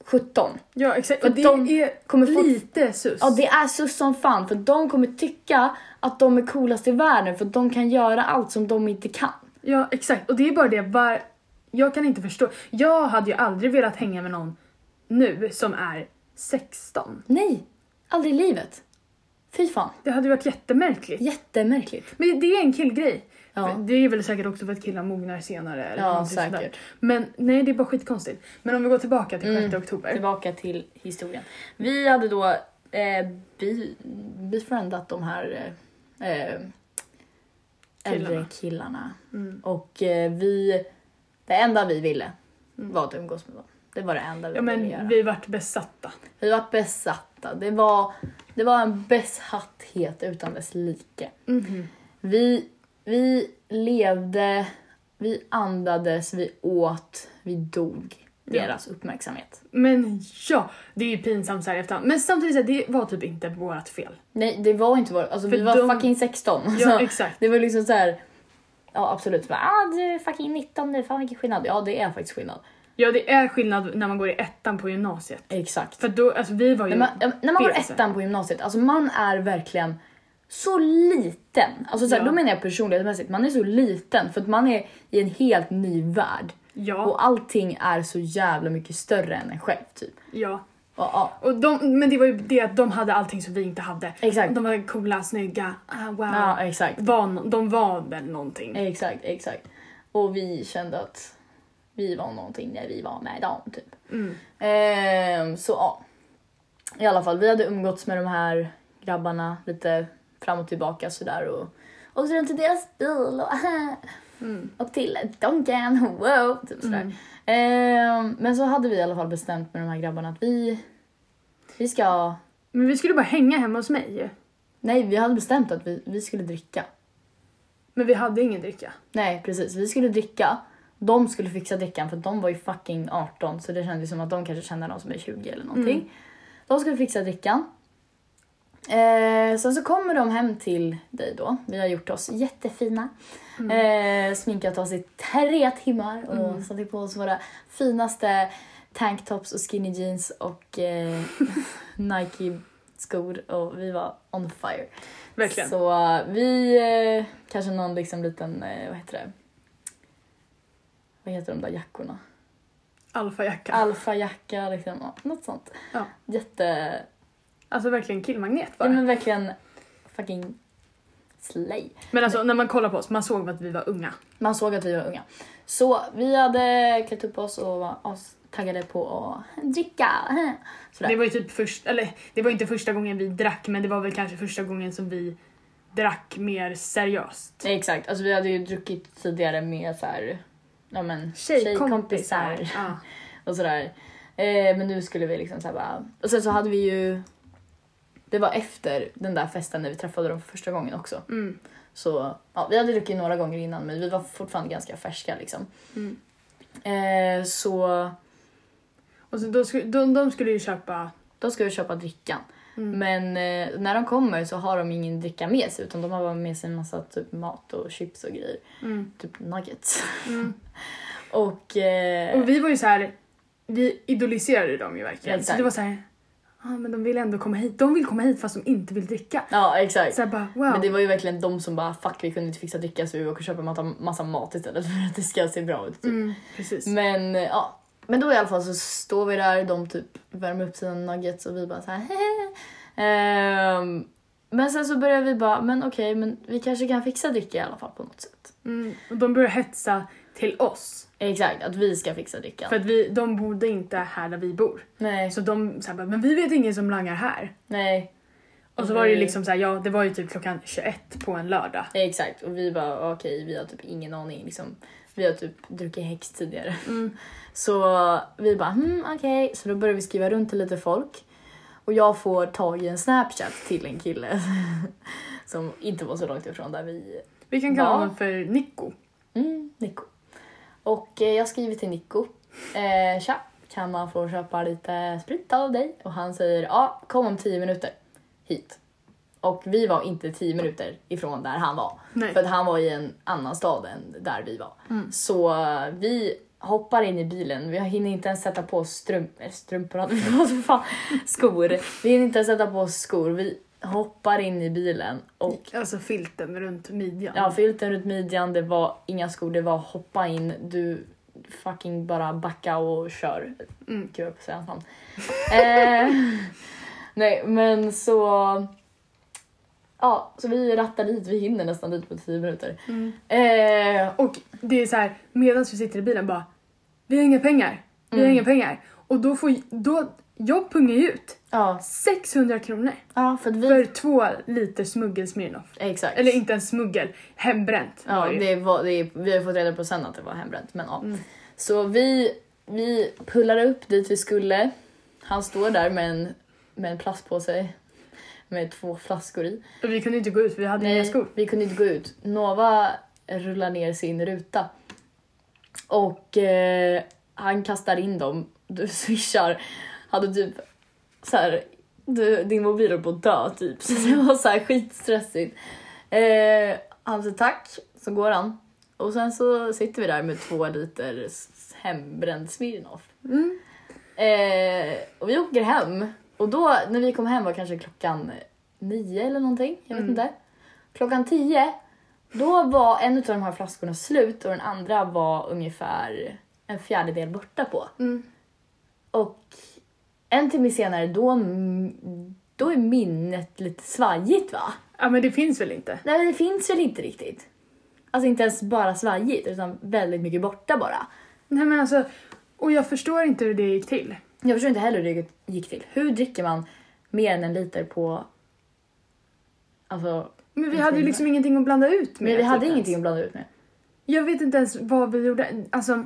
Speaker 1: 17.
Speaker 2: ja exakt.
Speaker 1: För
Speaker 2: Och det
Speaker 1: de
Speaker 2: är
Speaker 1: kommer fort-
Speaker 2: lite sus.
Speaker 1: Ja, det är sus som fan för de kommer tycka att de är coolast i världen för att de kan göra allt som de inte kan.
Speaker 2: Ja, exakt. Och det är bara det, var... jag kan inte förstå. Jag hade ju aldrig velat hänga med någon nu som är 16.
Speaker 1: Nej, aldrig i livet. Fy fan,
Speaker 2: Det hade ju varit jättemärkligt.
Speaker 1: jättemärkligt.
Speaker 2: Men det är en killgrej.
Speaker 1: Ja.
Speaker 2: För Det är väl säkert också för att killar mognar senare. Eller
Speaker 1: Ja,
Speaker 2: någonting sånt där.
Speaker 1: säkert. Mm.
Speaker 2: Men nej, det är bara skitkonstigt. Men om vi går tillbaka till 6 oktober.
Speaker 1: Tillbaka till historien. Vi hade då eh, be, befriendat de här eh, eh, äldre
Speaker 2: Killarna.
Speaker 1: killarna.
Speaker 2: Mm.
Speaker 1: Och eh, vi, det enda vi ville var att umgås med dem. Det var det enda vi
Speaker 2: Ja,
Speaker 1: ville göra.
Speaker 2: men vi vart besatta.
Speaker 1: Vi var besatta. Det var, det var en besatthet utan dess like. Mhm. Vi, vi levde, vi andades, vi åt, vi dog deras uppmärksamhet.
Speaker 2: Men ja, det är ju pinsamt så här i efterhand. Men samtidigt, så här, det var typ inte vårt fel.
Speaker 1: Nej, det var inte vår... Alltså, vi
Speaker 2: För
Speaker 1: var
Speaker 2: de-
Speaker 1: fucking 16.
Speaker 2: Ja,
Speaker 1: så
Speaker 2: exakt.
Speaker 1: det var liksom så här... Ja, absolut. Bara, ah, du är fucking 19 nu. Fan vilken skillnad. Ja, det är faktiskt skillnad.
Speaker 2: Ja, det är skillnad när man går i ettan på gymnasiet.
Speaker 1: Exakt.
Speaker 2: För då, alltså vi var ju...
Speaker 1: När man, ja, eh, när man går
Speaker 2: Bese.
Speaker 1: ettan på gymnasiet, alltså man är verkligen så liten. Alltså så här,
Speaker 2: Ja.
Speaker 1: Då menar jag personlighetsmässigt, man är så liten för att man är i en helt ny värld.
Speaker 2: Ja,
Speaker 1: Och allting är så jävla mycket större än en själv typ.
Speaker 2: ja.
Speaker 1: Och, ja,
Speaker 2: Och de, men det var ju det att de hade allting som vi inte hade.
Speaker 1: Exakt.
Speaker 2: De var coola, snygga, ah, wow.
Speaker 1: ja, exakt.
Speaker 2: Var no- de var väl någonting.
Speaker 1: Exakt, exakt. Och vi kände att vi var någonting när vi var med dem typ.
Speaker 2: Mm.
Speaker 1: Ehm, så ja. I alla fall, vi hade umgåtts med de här grabbarna lite fram och tillbaka sådär och åkte runt i deras bil och, och till Donken, wow, typ sådär. Ehm, men så hade vi i alla fall bestämt med de här grabbarna att vi, vi ska,
Speaker 2: Men vi skulle bara hänga hemma hos mig ju.
Speaker 1: nej vi hade bestämt att vi, vi skulle dricka.
Speaker 2: Men vi hade ingen dricka.
Speaker 1: Nej precis, vi skulle dricka. De skulle fixa drickan för de var ju fucking 18 så det kändes som att de kanske kände någon som är 20 eller någonting. De skulle fixa drickan. Eh, sen så kommer de hem till dig då. Vi har gjort oss jättefina. Eh, sminkat oss i tre timmar och satte på oss våra finaste tanktops och skinny jeans och eh, Nike-skor och vi var on fire.
Speaker 2: Verkligen.
Speaker 1: Så eh, vi, eh, kanske någon liksom liten, eh, vad heter det? Vad heter de där jackorna?
Speaker 2: Alfajacka.
Speaker 1: Alfajacka, liksom, ja, något sånt.
Speaker 2: Ja.
Speaker 1: Jätte,
Speaker 2: Alltså verkligen killmagnet
Speaker 1: ja,
Speaker 2: bara.
Speaker 1: men verkligen fucking Slay.
Speaker 2: Men alltså när man kollar på oss, man såg att vi var unga.
Speaker 1: Man såg att vi var unga. Så vi hade klätt upp oss och var as- taggade på att dricka. Sådär.
Speaker 2: Det var ju typ först, eller det var inte första gången vi drack men det var väl kanske första gången som vi drack mer seriöst.
Speaker 1: Nej, Exakt, alltså vi hade ju druckit tidigare med så här, ja men
Speaker 2: Ja.
Speaker 1: och sådär. Eh, men nu skulle vi liksom såhär bara... Och sen så hade vi ju... Det var efter den där festen när vi träffade dem för första gången också.
Speaker 2: Mm.
Speaker 1: Så ja, vi hade druckit några gånger innan men vi var fortfarande ganska färska liksom.
Speaker 2: Mm.
Speaker 1: Eh, så
Speaker 2: Och så då skulle, de, de skulle ju köpa...
Speaker 1: då ska vi köpa drickan.
Speaker 2: Mm.
Speaker 1: Men eh, när de kommer så har de ingen dricka med sig utan de har bara med sig en massa typ mat och chips och grejer.
Speaker 2: Mm.
Speaker 1: Typ nuggets.
Speaker 2: Mm.
Speaker 1: Och... Eh,
Speaker 2: Och vi var ju så här, vi idoliserade dem ju verkligen.
Speaker 1: Exakt.
Speaker 2: Så det var så här, ja men de vill ändå komma hit. De vill komma hit fast de inte vill dricka.
Speaker 1: Ja exakt.
Speaker 2: Så här bara wow.
Speaker 1: Men det var ju verkligen de som bara fuck vi kunde inte fixa dricka så vi åker och köper massa, massa mat istället för att det ska se bra ut. Typ.
Speaker 2: mm, precis.
Speaker 1: Men eh, ja. Men då i alla fall så står vi där, de typ värmer upp sina nuggets och vi bara såhär um, Men sen så börjar vi bara, men okej men vi kanske kan fixa dricka i alla fall på något sätt.
Speaker 2: Mm. Och de började hetsa till oss.
Speaker 1: Exakt, att vi ska fixa drickan.
Speaker 2: För att vi, de bodde inte här där vi bor.
Speaker 1: nej,
Speaker 2: Så de sa bara, men vi vet ingen som langar här.
Speaker 1: nej,
Speaker 2: Och så var det ju
Speaker 1: Mm.
Speaker 2: liksom så här, ja det var ju typ klockan 21 på en lördag.
Speaker 1: nej, exakt. Och vi bara okej vi har typ ingen aning liksom. Vi har typ druckit häx tidigare. Så vi bara, hmm, okej. Så då börjar vi skriva runt till lite folk. Och jag får tag i en snapchat till en kille som inte var så långt ifrån där vi...
Speaker 2: Vi kan kalla
Speaker 1: Ja.
Speaker 2: honom för Nico.
Speaker 1: Mm, Nico. Och eh, jag skriver till Nico. Eh, tja, kan man få köpa lite sprit av dig? Och han säger, ja, kom om tio minuter hit. Och vi var inte tio minuter ifrån där han var.
Speaker 2: Nej.
Speaker 1: För att han var i en annan stad än där vi var.
Speaker 2: Mm.
Speaker 1: Så eh, vi hoppar in i bilen, vi hinner inte ens sätta på strump, eller strumpor, hade vi på oss, för fan, skor. Vi hinner inte ens sätta på oss skor, vi hoppar in i bilen och
Speaker 2: Alltså filten runt midjan.
Speaker 1: ja, filten runt midjan, det var inga skor, det var hoppa in, du fucking bara backa och kör.
Speaker 2: Mm.
Speaker 1: Gud, jag höll på att säga hans namn. eh, nej, men så... Ja, så vi rattar dit, vi hinner nästan dit på tio minuter.
Speaker 2: Mm.
Speaker 1: Eh,
Speaker 2: Och det är så här, medan vi sitter i bilen bara, vi har inga pengar. Vi har
Speaker 1: Mm.
Speaker 2: inga pengar. Och då får, då, jag pungar ju ut
Speaker 1: ja,
Speaker 2: 600 kronor
Speaker 1: ja, för att vi...
Speaker 2: för två liter smuggel Smirnoff.
Speaker 1: Exakt.
Speaker 2: Eller inte ens smuggel, hembränt
Speaker 1: Ja,
Speaker 2: var ju.
Speaker 1: det var, det, vi har fått reda på sen att det var hembränt. Men, ja.
Speaker 2: Mm.
Speaker 1: Så vi, vi pullade upp dit vi skulle. Han står där med en, med en plastpåse med två flaskor i.
Speaker 2: Och vi kunde inte gå ut för vi hade inga skor.
Speaker 1: vi kunde inte gå ut. Nova rullar ner sin ruta. Och eh, han kastar in dem. Du swishar. Hade typ så här, du, din mobil höll på att dö typ. Så det var så här skitstressigt. Eh, han säger tack, så går han. Och sen så sitter vi där med två liter s- hembränd Smirnoff.
Speaker 2: Mm.
Speaker 1: Eh, och vi åker hem. Och då, när vi kom hem var kanske klockan nio eller någonting. Jag vet
Speaker 2: Mm.
Speaker 1: inte. Klockan tio, då var en av de här flaskorna slut och den andra var ungefär en fjärdedel borta på.
Speaker 2: Mm.
Speaker 1: Och en timme senare, då, då är minnet lite svajigt va?
Speaker 2: Ja men det finns väl inte?
Speaker 1: Nej men det finns väl inte riktigt? Alltså inte ens bara svajigt utan väldigt mycket borta bara.
Speaker 2: Nej men alltså, och jag förstår inte hur det gick till.
Speaker 1: Jag förstår inte heller hur det gick till. Hur dricker man mer än en liter på... Alltså,
Speaker 2: Men vi
Speaker 1: Jag
Speaker 2: hade ju
Speaker 1: tror
Speaker 2: liksom ingenting att blanda ut med.
Speaker 1: men vi
Speaker 2: typ
Speaker 1: hade
Speaker 2: ens.
Speaker 1: ingenting att blanda ut med.
Speaker 2: Jag vet inte ens vad vi gjorde. Alltså,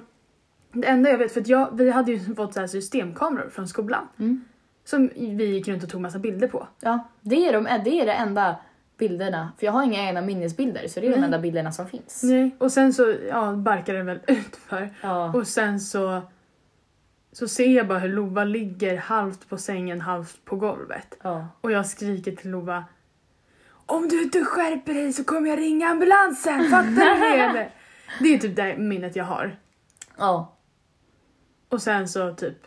Speaker 2: det enda jag vet, för att jag, vi hade ju fått så här systemkameror från skolan.
Speaker 1: Mm.
Speaker 2: Som vi gick runt och tog massa bilder på.
Speaker 1: Ja, det är, de, det är de enda bilderna. För jag har inga egna minnesbilder så det är de
Speaker 2: Nej.
Speaker 1: enda bilderna som finns.
Speaker 2: Nej. Och sen så ja, barkade den väl utför.
Speaker 1: Ja.
Speaker 2: Och sen så, så ser jag bara hur Lova ligger halvt på sängen, halvt på golvet.
Speaker 1: ja.
Speaker 2: Och jag skriker till Lova. Om du inte skärper dig så kommer jag ringa ambulansen, fattar du det eller? Det är typ det minnet jag har.
Speaker 1: ja.
Speaker 2: Och sen så typ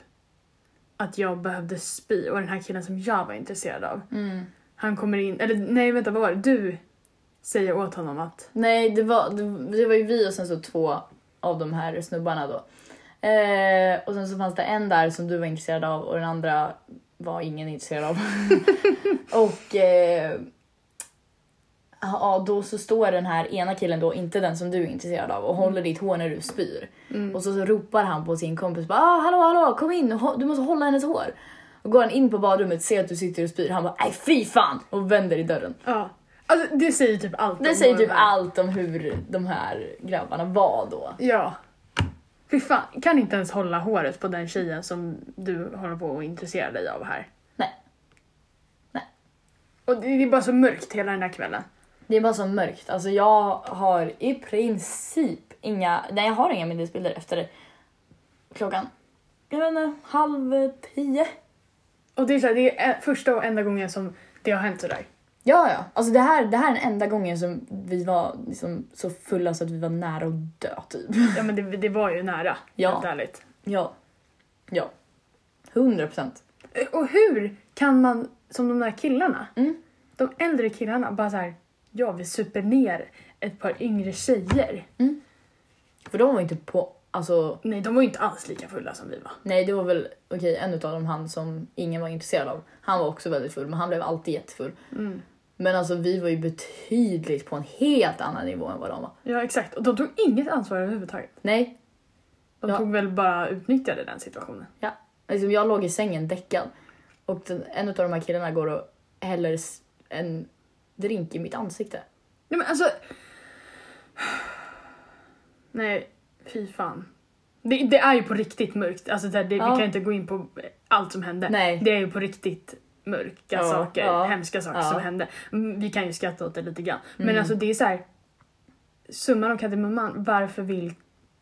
Speaker 2: att jag behövde spy och den här killen som jag var intresserad av.
Speaker 1: Mm.
Speaker 2: Han kommer in, eller nej vänta vad var det? Du säger åt honom att
Speaker 1: Nej, det var, det, det var ju vi och sen så två av de här snubbarna då. Eh, och sen så fanns det en där som du var intresserad av och den andra var ingen intresserad av. och eh, ja, då så står den här ena killen då, inte den som du är intresserad av, och håller ditt hår när du spyr. Och så, så ropar han på sin kompis bara ah, hallå hallå kom in, hå- du måste hålla hennes hår. Och går han in på badrummet, ser att du sitter och spyr, han bara nej fy fan! Och vänder i dörren.
Speaker 2: Ja. Alltså, det säger typ allt.
Speaker 1: Det
Speaker 2: om
Speaker 1: säger
Speaker 2: vad de
Speaker 1: typ
Speaker 2: här-
Speaker 1: allt om hur de här grabbarna var då.
Speaker 2: Ja. Fy fan, kan inte ens hålla håret på den tjejen som du håller på att intressera dig av här.
Speaker 1: Nej. Nej.
Speaker 2: Och det det är bara så mörkt hela den här kvällen.
Speaker 1: Det är bara så mörkt. Alltså jag har i princip inga, nej jag har inga minnesbilder efter klockan, jag vet inte, halv tio.
Speaker 2: Och det är, så här, det är eh, första och enda gången som det har hänt sådär.
Speaker 1: Ja, ja. Alltså det här, det här är den enda gången som vi var liksom så fulla så att vi var nära att dö typ.
Speaker 2: Ja men det, det var ju nära,
Speaker 1: Ja.
Speaker 2: helt ärligt.
Speaker 1: Ja. Ja. 100 procent.
Speaker 2: Eh, Och hur kan man, som de där killarna,
Speaker 1: Mm.
Speaker 2: de äldre killarna, bara så här, ja vi super ner ett par yngre tjejer.
Speaker 1: För de var inte på, alltså
Speaker 2: Nej, de var ju inte alls lika fulla som vi var.
Speaker 1: nej det var väl, okej en utav dem han som ingen var intresserad av, han var också väldigt full men han blev alltid jättefull. Men alltså vi var ju betydligt på en helt annan nivå än vad de var.
Speaker 2: Ja exakt, och de tog inget ansvar överhuvudtaget.
Speaker 1: Nej,
Speaker 2: De
Speaker 1: Ja.
Speaker 2: tog väl bara utnyttjade den situationen.
Speaker 1: Ja. Liksom jag låg i sängen däckad och den, en av de här killarna går och häller s- en drink i mitt ansikte.
Speaker 2: Nej men alltså... Nej, fy fan. Det, det är ju på riktigt mörkt. Alltså det, det,
Speaker 1: Ja.
Speaker 2: Vi kan inte gå in på allt som hände.
Speaker 1: Nej.
Speaker 2: Det är ju på riktigt mörka
Speaker 1: Ja,
Speaker 2: saker,
Speaker 1: ja.
Speaker 2: hemska saker
Speaker 1: Ja.
Speaker 2: som hände. Mm, Vi kan ju skratta åt det lite grann. Men
Speaker 1: Mm.
Speaker 2: alltså det är så här. Summan av kardemumman, varför vill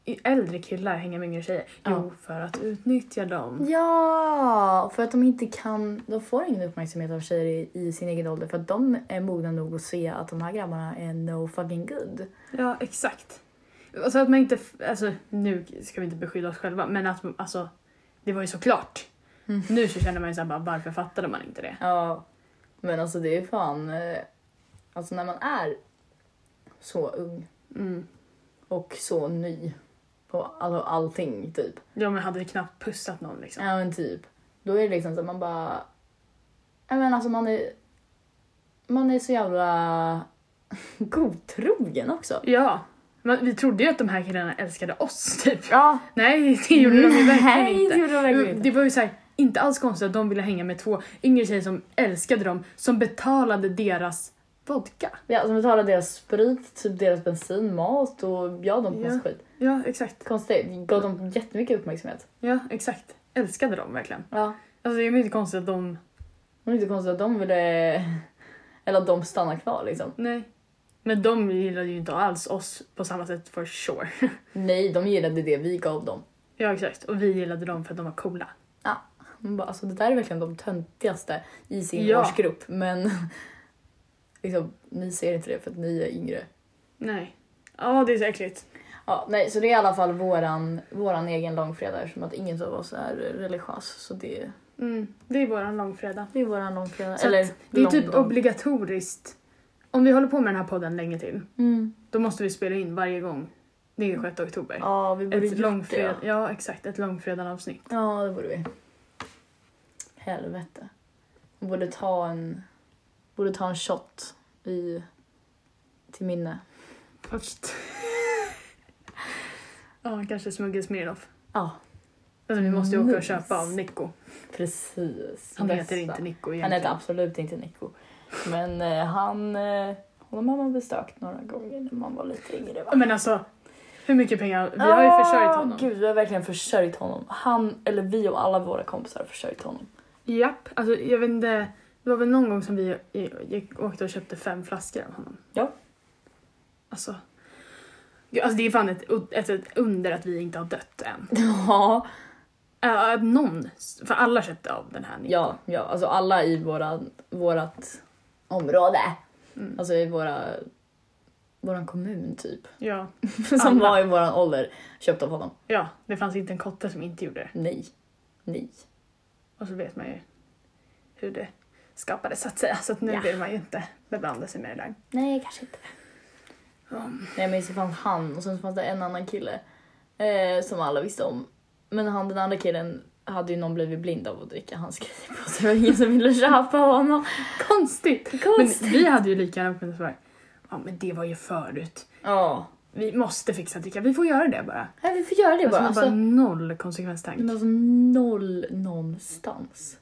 Speaker 2: i- äldre killar hänga med yngre tjejer?
Speaker 1: Ja.
Speaker 2: Jo, för att utnyttja dem.
Speaker 1: Ja, för att de inte kan, de får ingen uppmärksamhet av tjejer i, i sin egen ålder för att de är mogna nog att se att de här grabbarna är no fucking good.
Speaker 2: Ja, exakt. Alltså att man inte, f- alltså nu ska vi inte beskydda oss själva, men att alltså, det var ju såklart.
Speaker 1: Mm.
Speaker 2: Nu så känner man ju såhär bara, varför fattade man inte det?
Speaker 1: Ja, men alltså det är ju fan, eh, alltså när man är så ung
Speaker 2: Mm.
Speaker 1: och så ny på all, allting typ.
Speaker 2: Ja, men hade knappt pussat någon liksom.
Speaker 1: Ja men typ. Då är det liksom så att man bara... Ja men alltså man är... Man är så jävla godtrogen också.
Speaker 2: Ja, men vi trodde ju att de här killarna älskade oss typ.
Speaker 1: Ja.
Speaker 2: Nej, det gjorde de ju verkligen
Speaker 1: Mm. Nej, det
Speaker 2: inte. Mm.
Speaker 1: gjorde de verkligen inte.
Speaker 2: Det var ju såhär, inte alls konstigt att de ville hänga med två yngre tjejer som älskade dem, som betalade deras vodka.
Speaker 1: Ja, som betalar deras sprit, typ deras bensin, mat och ja, de på
Speaker 2: Ja.
Speaker 1: massa skit.
Speaker 2: Ja, exakt.
Speaker 1: Konstigt. Gav dem jättemycket uppmärksamhet.
Speaker 2: Ja, exakt. Älskade dem verkligen.
Speaker 1: Ja.
Speaker 2: Alltså det är ju inte konstigt att de
Speaker 1: Det är inte konstigt att de ville... Eller att de stannar kvar liksom.
Speaker 2: Nej. Men de gillade ju inte alls oss på samma sätt for sure.
Speaker 1: Nej, de gillade det vi gav dem.
Speaker 2: Ja exakt, och vi gillade dem för att de var coola.
Speaker 1: Man bara, alltså det där är verkligen de töntigaste i sin
Speaker 2: Ja.
Speaker 1: årsgrupp men liksom, ni ser inte det för att ni är yngre.
Speaker 2: Nej. Ja, det är så äckligt.
Speaker 1: Ja, nej, så det är i alla fall våran, våran egen långfredag eftersom att ingen av oss är religiös. Så det,
Speaker 2: Mm, det är våran långfredag.
Speaker 1: det är våran långfredag.
Speaker 2: Så
Speaker 1: Eller
Speaker 2: att det är
Speaker 1: lång-
Speaker 2: typ
Speaker 1: lång-
Speaker 2: obligatoriskt. Om vi håller på med den här podden länge till,
Speaker 1: Mm.
Speaker 2: då måste vi spela in varje gång. Det är 6 oktober.
Speaker 1: Ja, vi borde
Speaker 2: ett
Speaker 1: gjort
Speaker 2: långfred...
Speaker 1: det.
Speaker 2: ja. exakt. Ett långfredagsavsnitt.
Speaker 1: Ja, det borde vi. Helvete. Vi borde ta en, borde ta en shot i, till minne.
Speaker 2: Först. ja, kanske smuggelsmirnoff.
Speaker 1: Ja,
Speaker 2: Alltså vi måste ju åka och
Speaker 1: Nice.
Speaker 2: köpa av Nico.
Speaker 1: precis.
Speaker 2: Han heter
Speaker 1: Bästa.
Speaker 2: inte Nico egentligen.
Speaker 1: Han heter absolut inte Nico. Men eh, han, eh, honom har man besökt några gånger när man var lite yngre. Va?
Speaker 2: Ja, Men alltså, hur mycket pengar? Vi har ju försörjt
Speaker 1: Ah,
Speaker 2: honom.
Speaker 1: Gud, vi har verkligen försörjt honom. Han, eller vi och alla våra kompisar har försörjt honom.
Speaker 2: Japp, alltså jag vet inte. Det var väl någon gång som vi gick, åkte och köpte fem flaskor av honom.
Speaker 1: Ja.
Speaker 2: Alltså. Gud, alltså det är fan ett, ett, ett under att vi inte har dött än.
Speaker 1: Ja,
Speaker 2: Äh, Att någon, för alla köpte av den här.
Speaker 1: ja, ja. Alltså alla i våra, vårat område.
Speaker 2: Mm.
Speaker 1: Alltså i våra, våran kommun typ.
Speaker 2: Ja.
Speaker 1: Som
Speaker 2: Alla.
Speaker 1: var i våran ålder köpt av honom.
Speaker 2: ja, det fanns inte en kotte som inte gjorde det.
Speaker 1: Nej. Nej.
Speaker 2: Och så vet man ju hur det skapades så att säga. Så att nu
Speaker 1: Ja.
Speaker 2: vill man ju inte beblanda sig med det där.
Speaker 1: Nej, kanske inte.
Speaker 2: Um,
Speaker 1: Nej, men så fanns han och sen fanns det en annan kille eh, som alla visste om. Men han, den andra killen hade ju någon blivit blind av att dricka hans grejer på sig. Det var ingen som ville köpa honom.
Speaker 2: konstigt! Men
Speaker 1: Konstigt.
Speaker 2: vi hade ju lika gärna kunnat vara Ja men det var ju förut.
Speaker 1: Ja.
Speaker 2: Vi måste fixa dricka, vi får göra det bara.
Speaker 1: Nej, vi får göra det
Speaker 2: Alltså,
Speaker 1: bara.
Speaker 2: man bara
Speaker 1: Alltså,
Speaker 2: noll konsekvenstank.
Speaker 1: men alltså noll någonstans.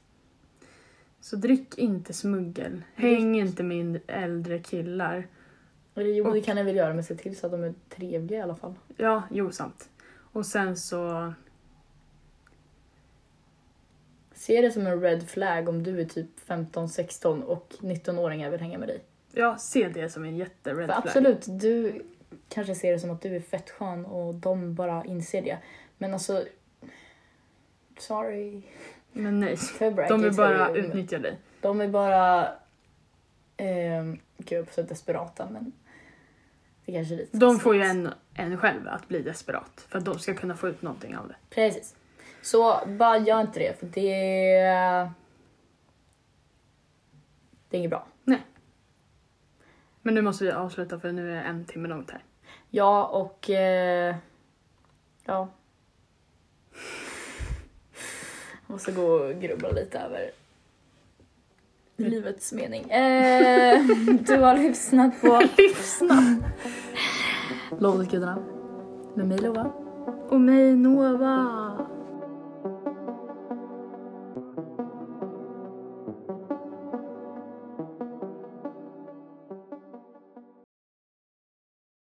Speaker 2: Så drick inte smuggel. Häng inte med äldre killar.
Speaker 1: Och det- Jo,
Speaker 2: Och-
Speaker 1: det kan jag väl göra, men se till så att de är trevliga i alla fall.
Speaker 2: Ja, jo sant. Och sen så...
Speaker 1: Se det som en red flag om du är typ 15, 16 och 19-åringar vill hänga med dig.
Speaker 2: Ja, se det som en jätte-red
Speaker 1: För
Speaker 2: flag.
Speaker 1: absolut, du kanske ser det som att du är fett skön och de bara inser det. Men alltså... Sorry.
Speaker 2: Men nej.
Speaker 1: Februari,
Speaker 2: De
Speaker 1: jag
Speaker 2: vill
Speaker 1: kan ju
Speaker 2: bara
Speaker 1: säga det, men
Speaker 2: utnyttja dig.
Speaker 1: De är bara... ehm, Gud, jag är så desperata, men... Det kanske är lite
Speaker 2: De
Speaker 1: taskigt.
Speaker 2: får ju en, en själv att bli desperat. För att de ska kunna få ut någonting av det.
Speaker 1: Precis. Så bara gör inte det, för det... Det är inget bra.
Speaker 2: Men nu måste vi avsluta för nu är en timme långt här.
Speaker 1: Ja, och... Eh, ja. Jag måste gå och grubbla lite över livets mening. Eh, du har lyssnat på
Speaker 2: Lyssna!
Speaker 1: Lovåt gudarna med mig Lova.
Speaker 2: Och mig Nova!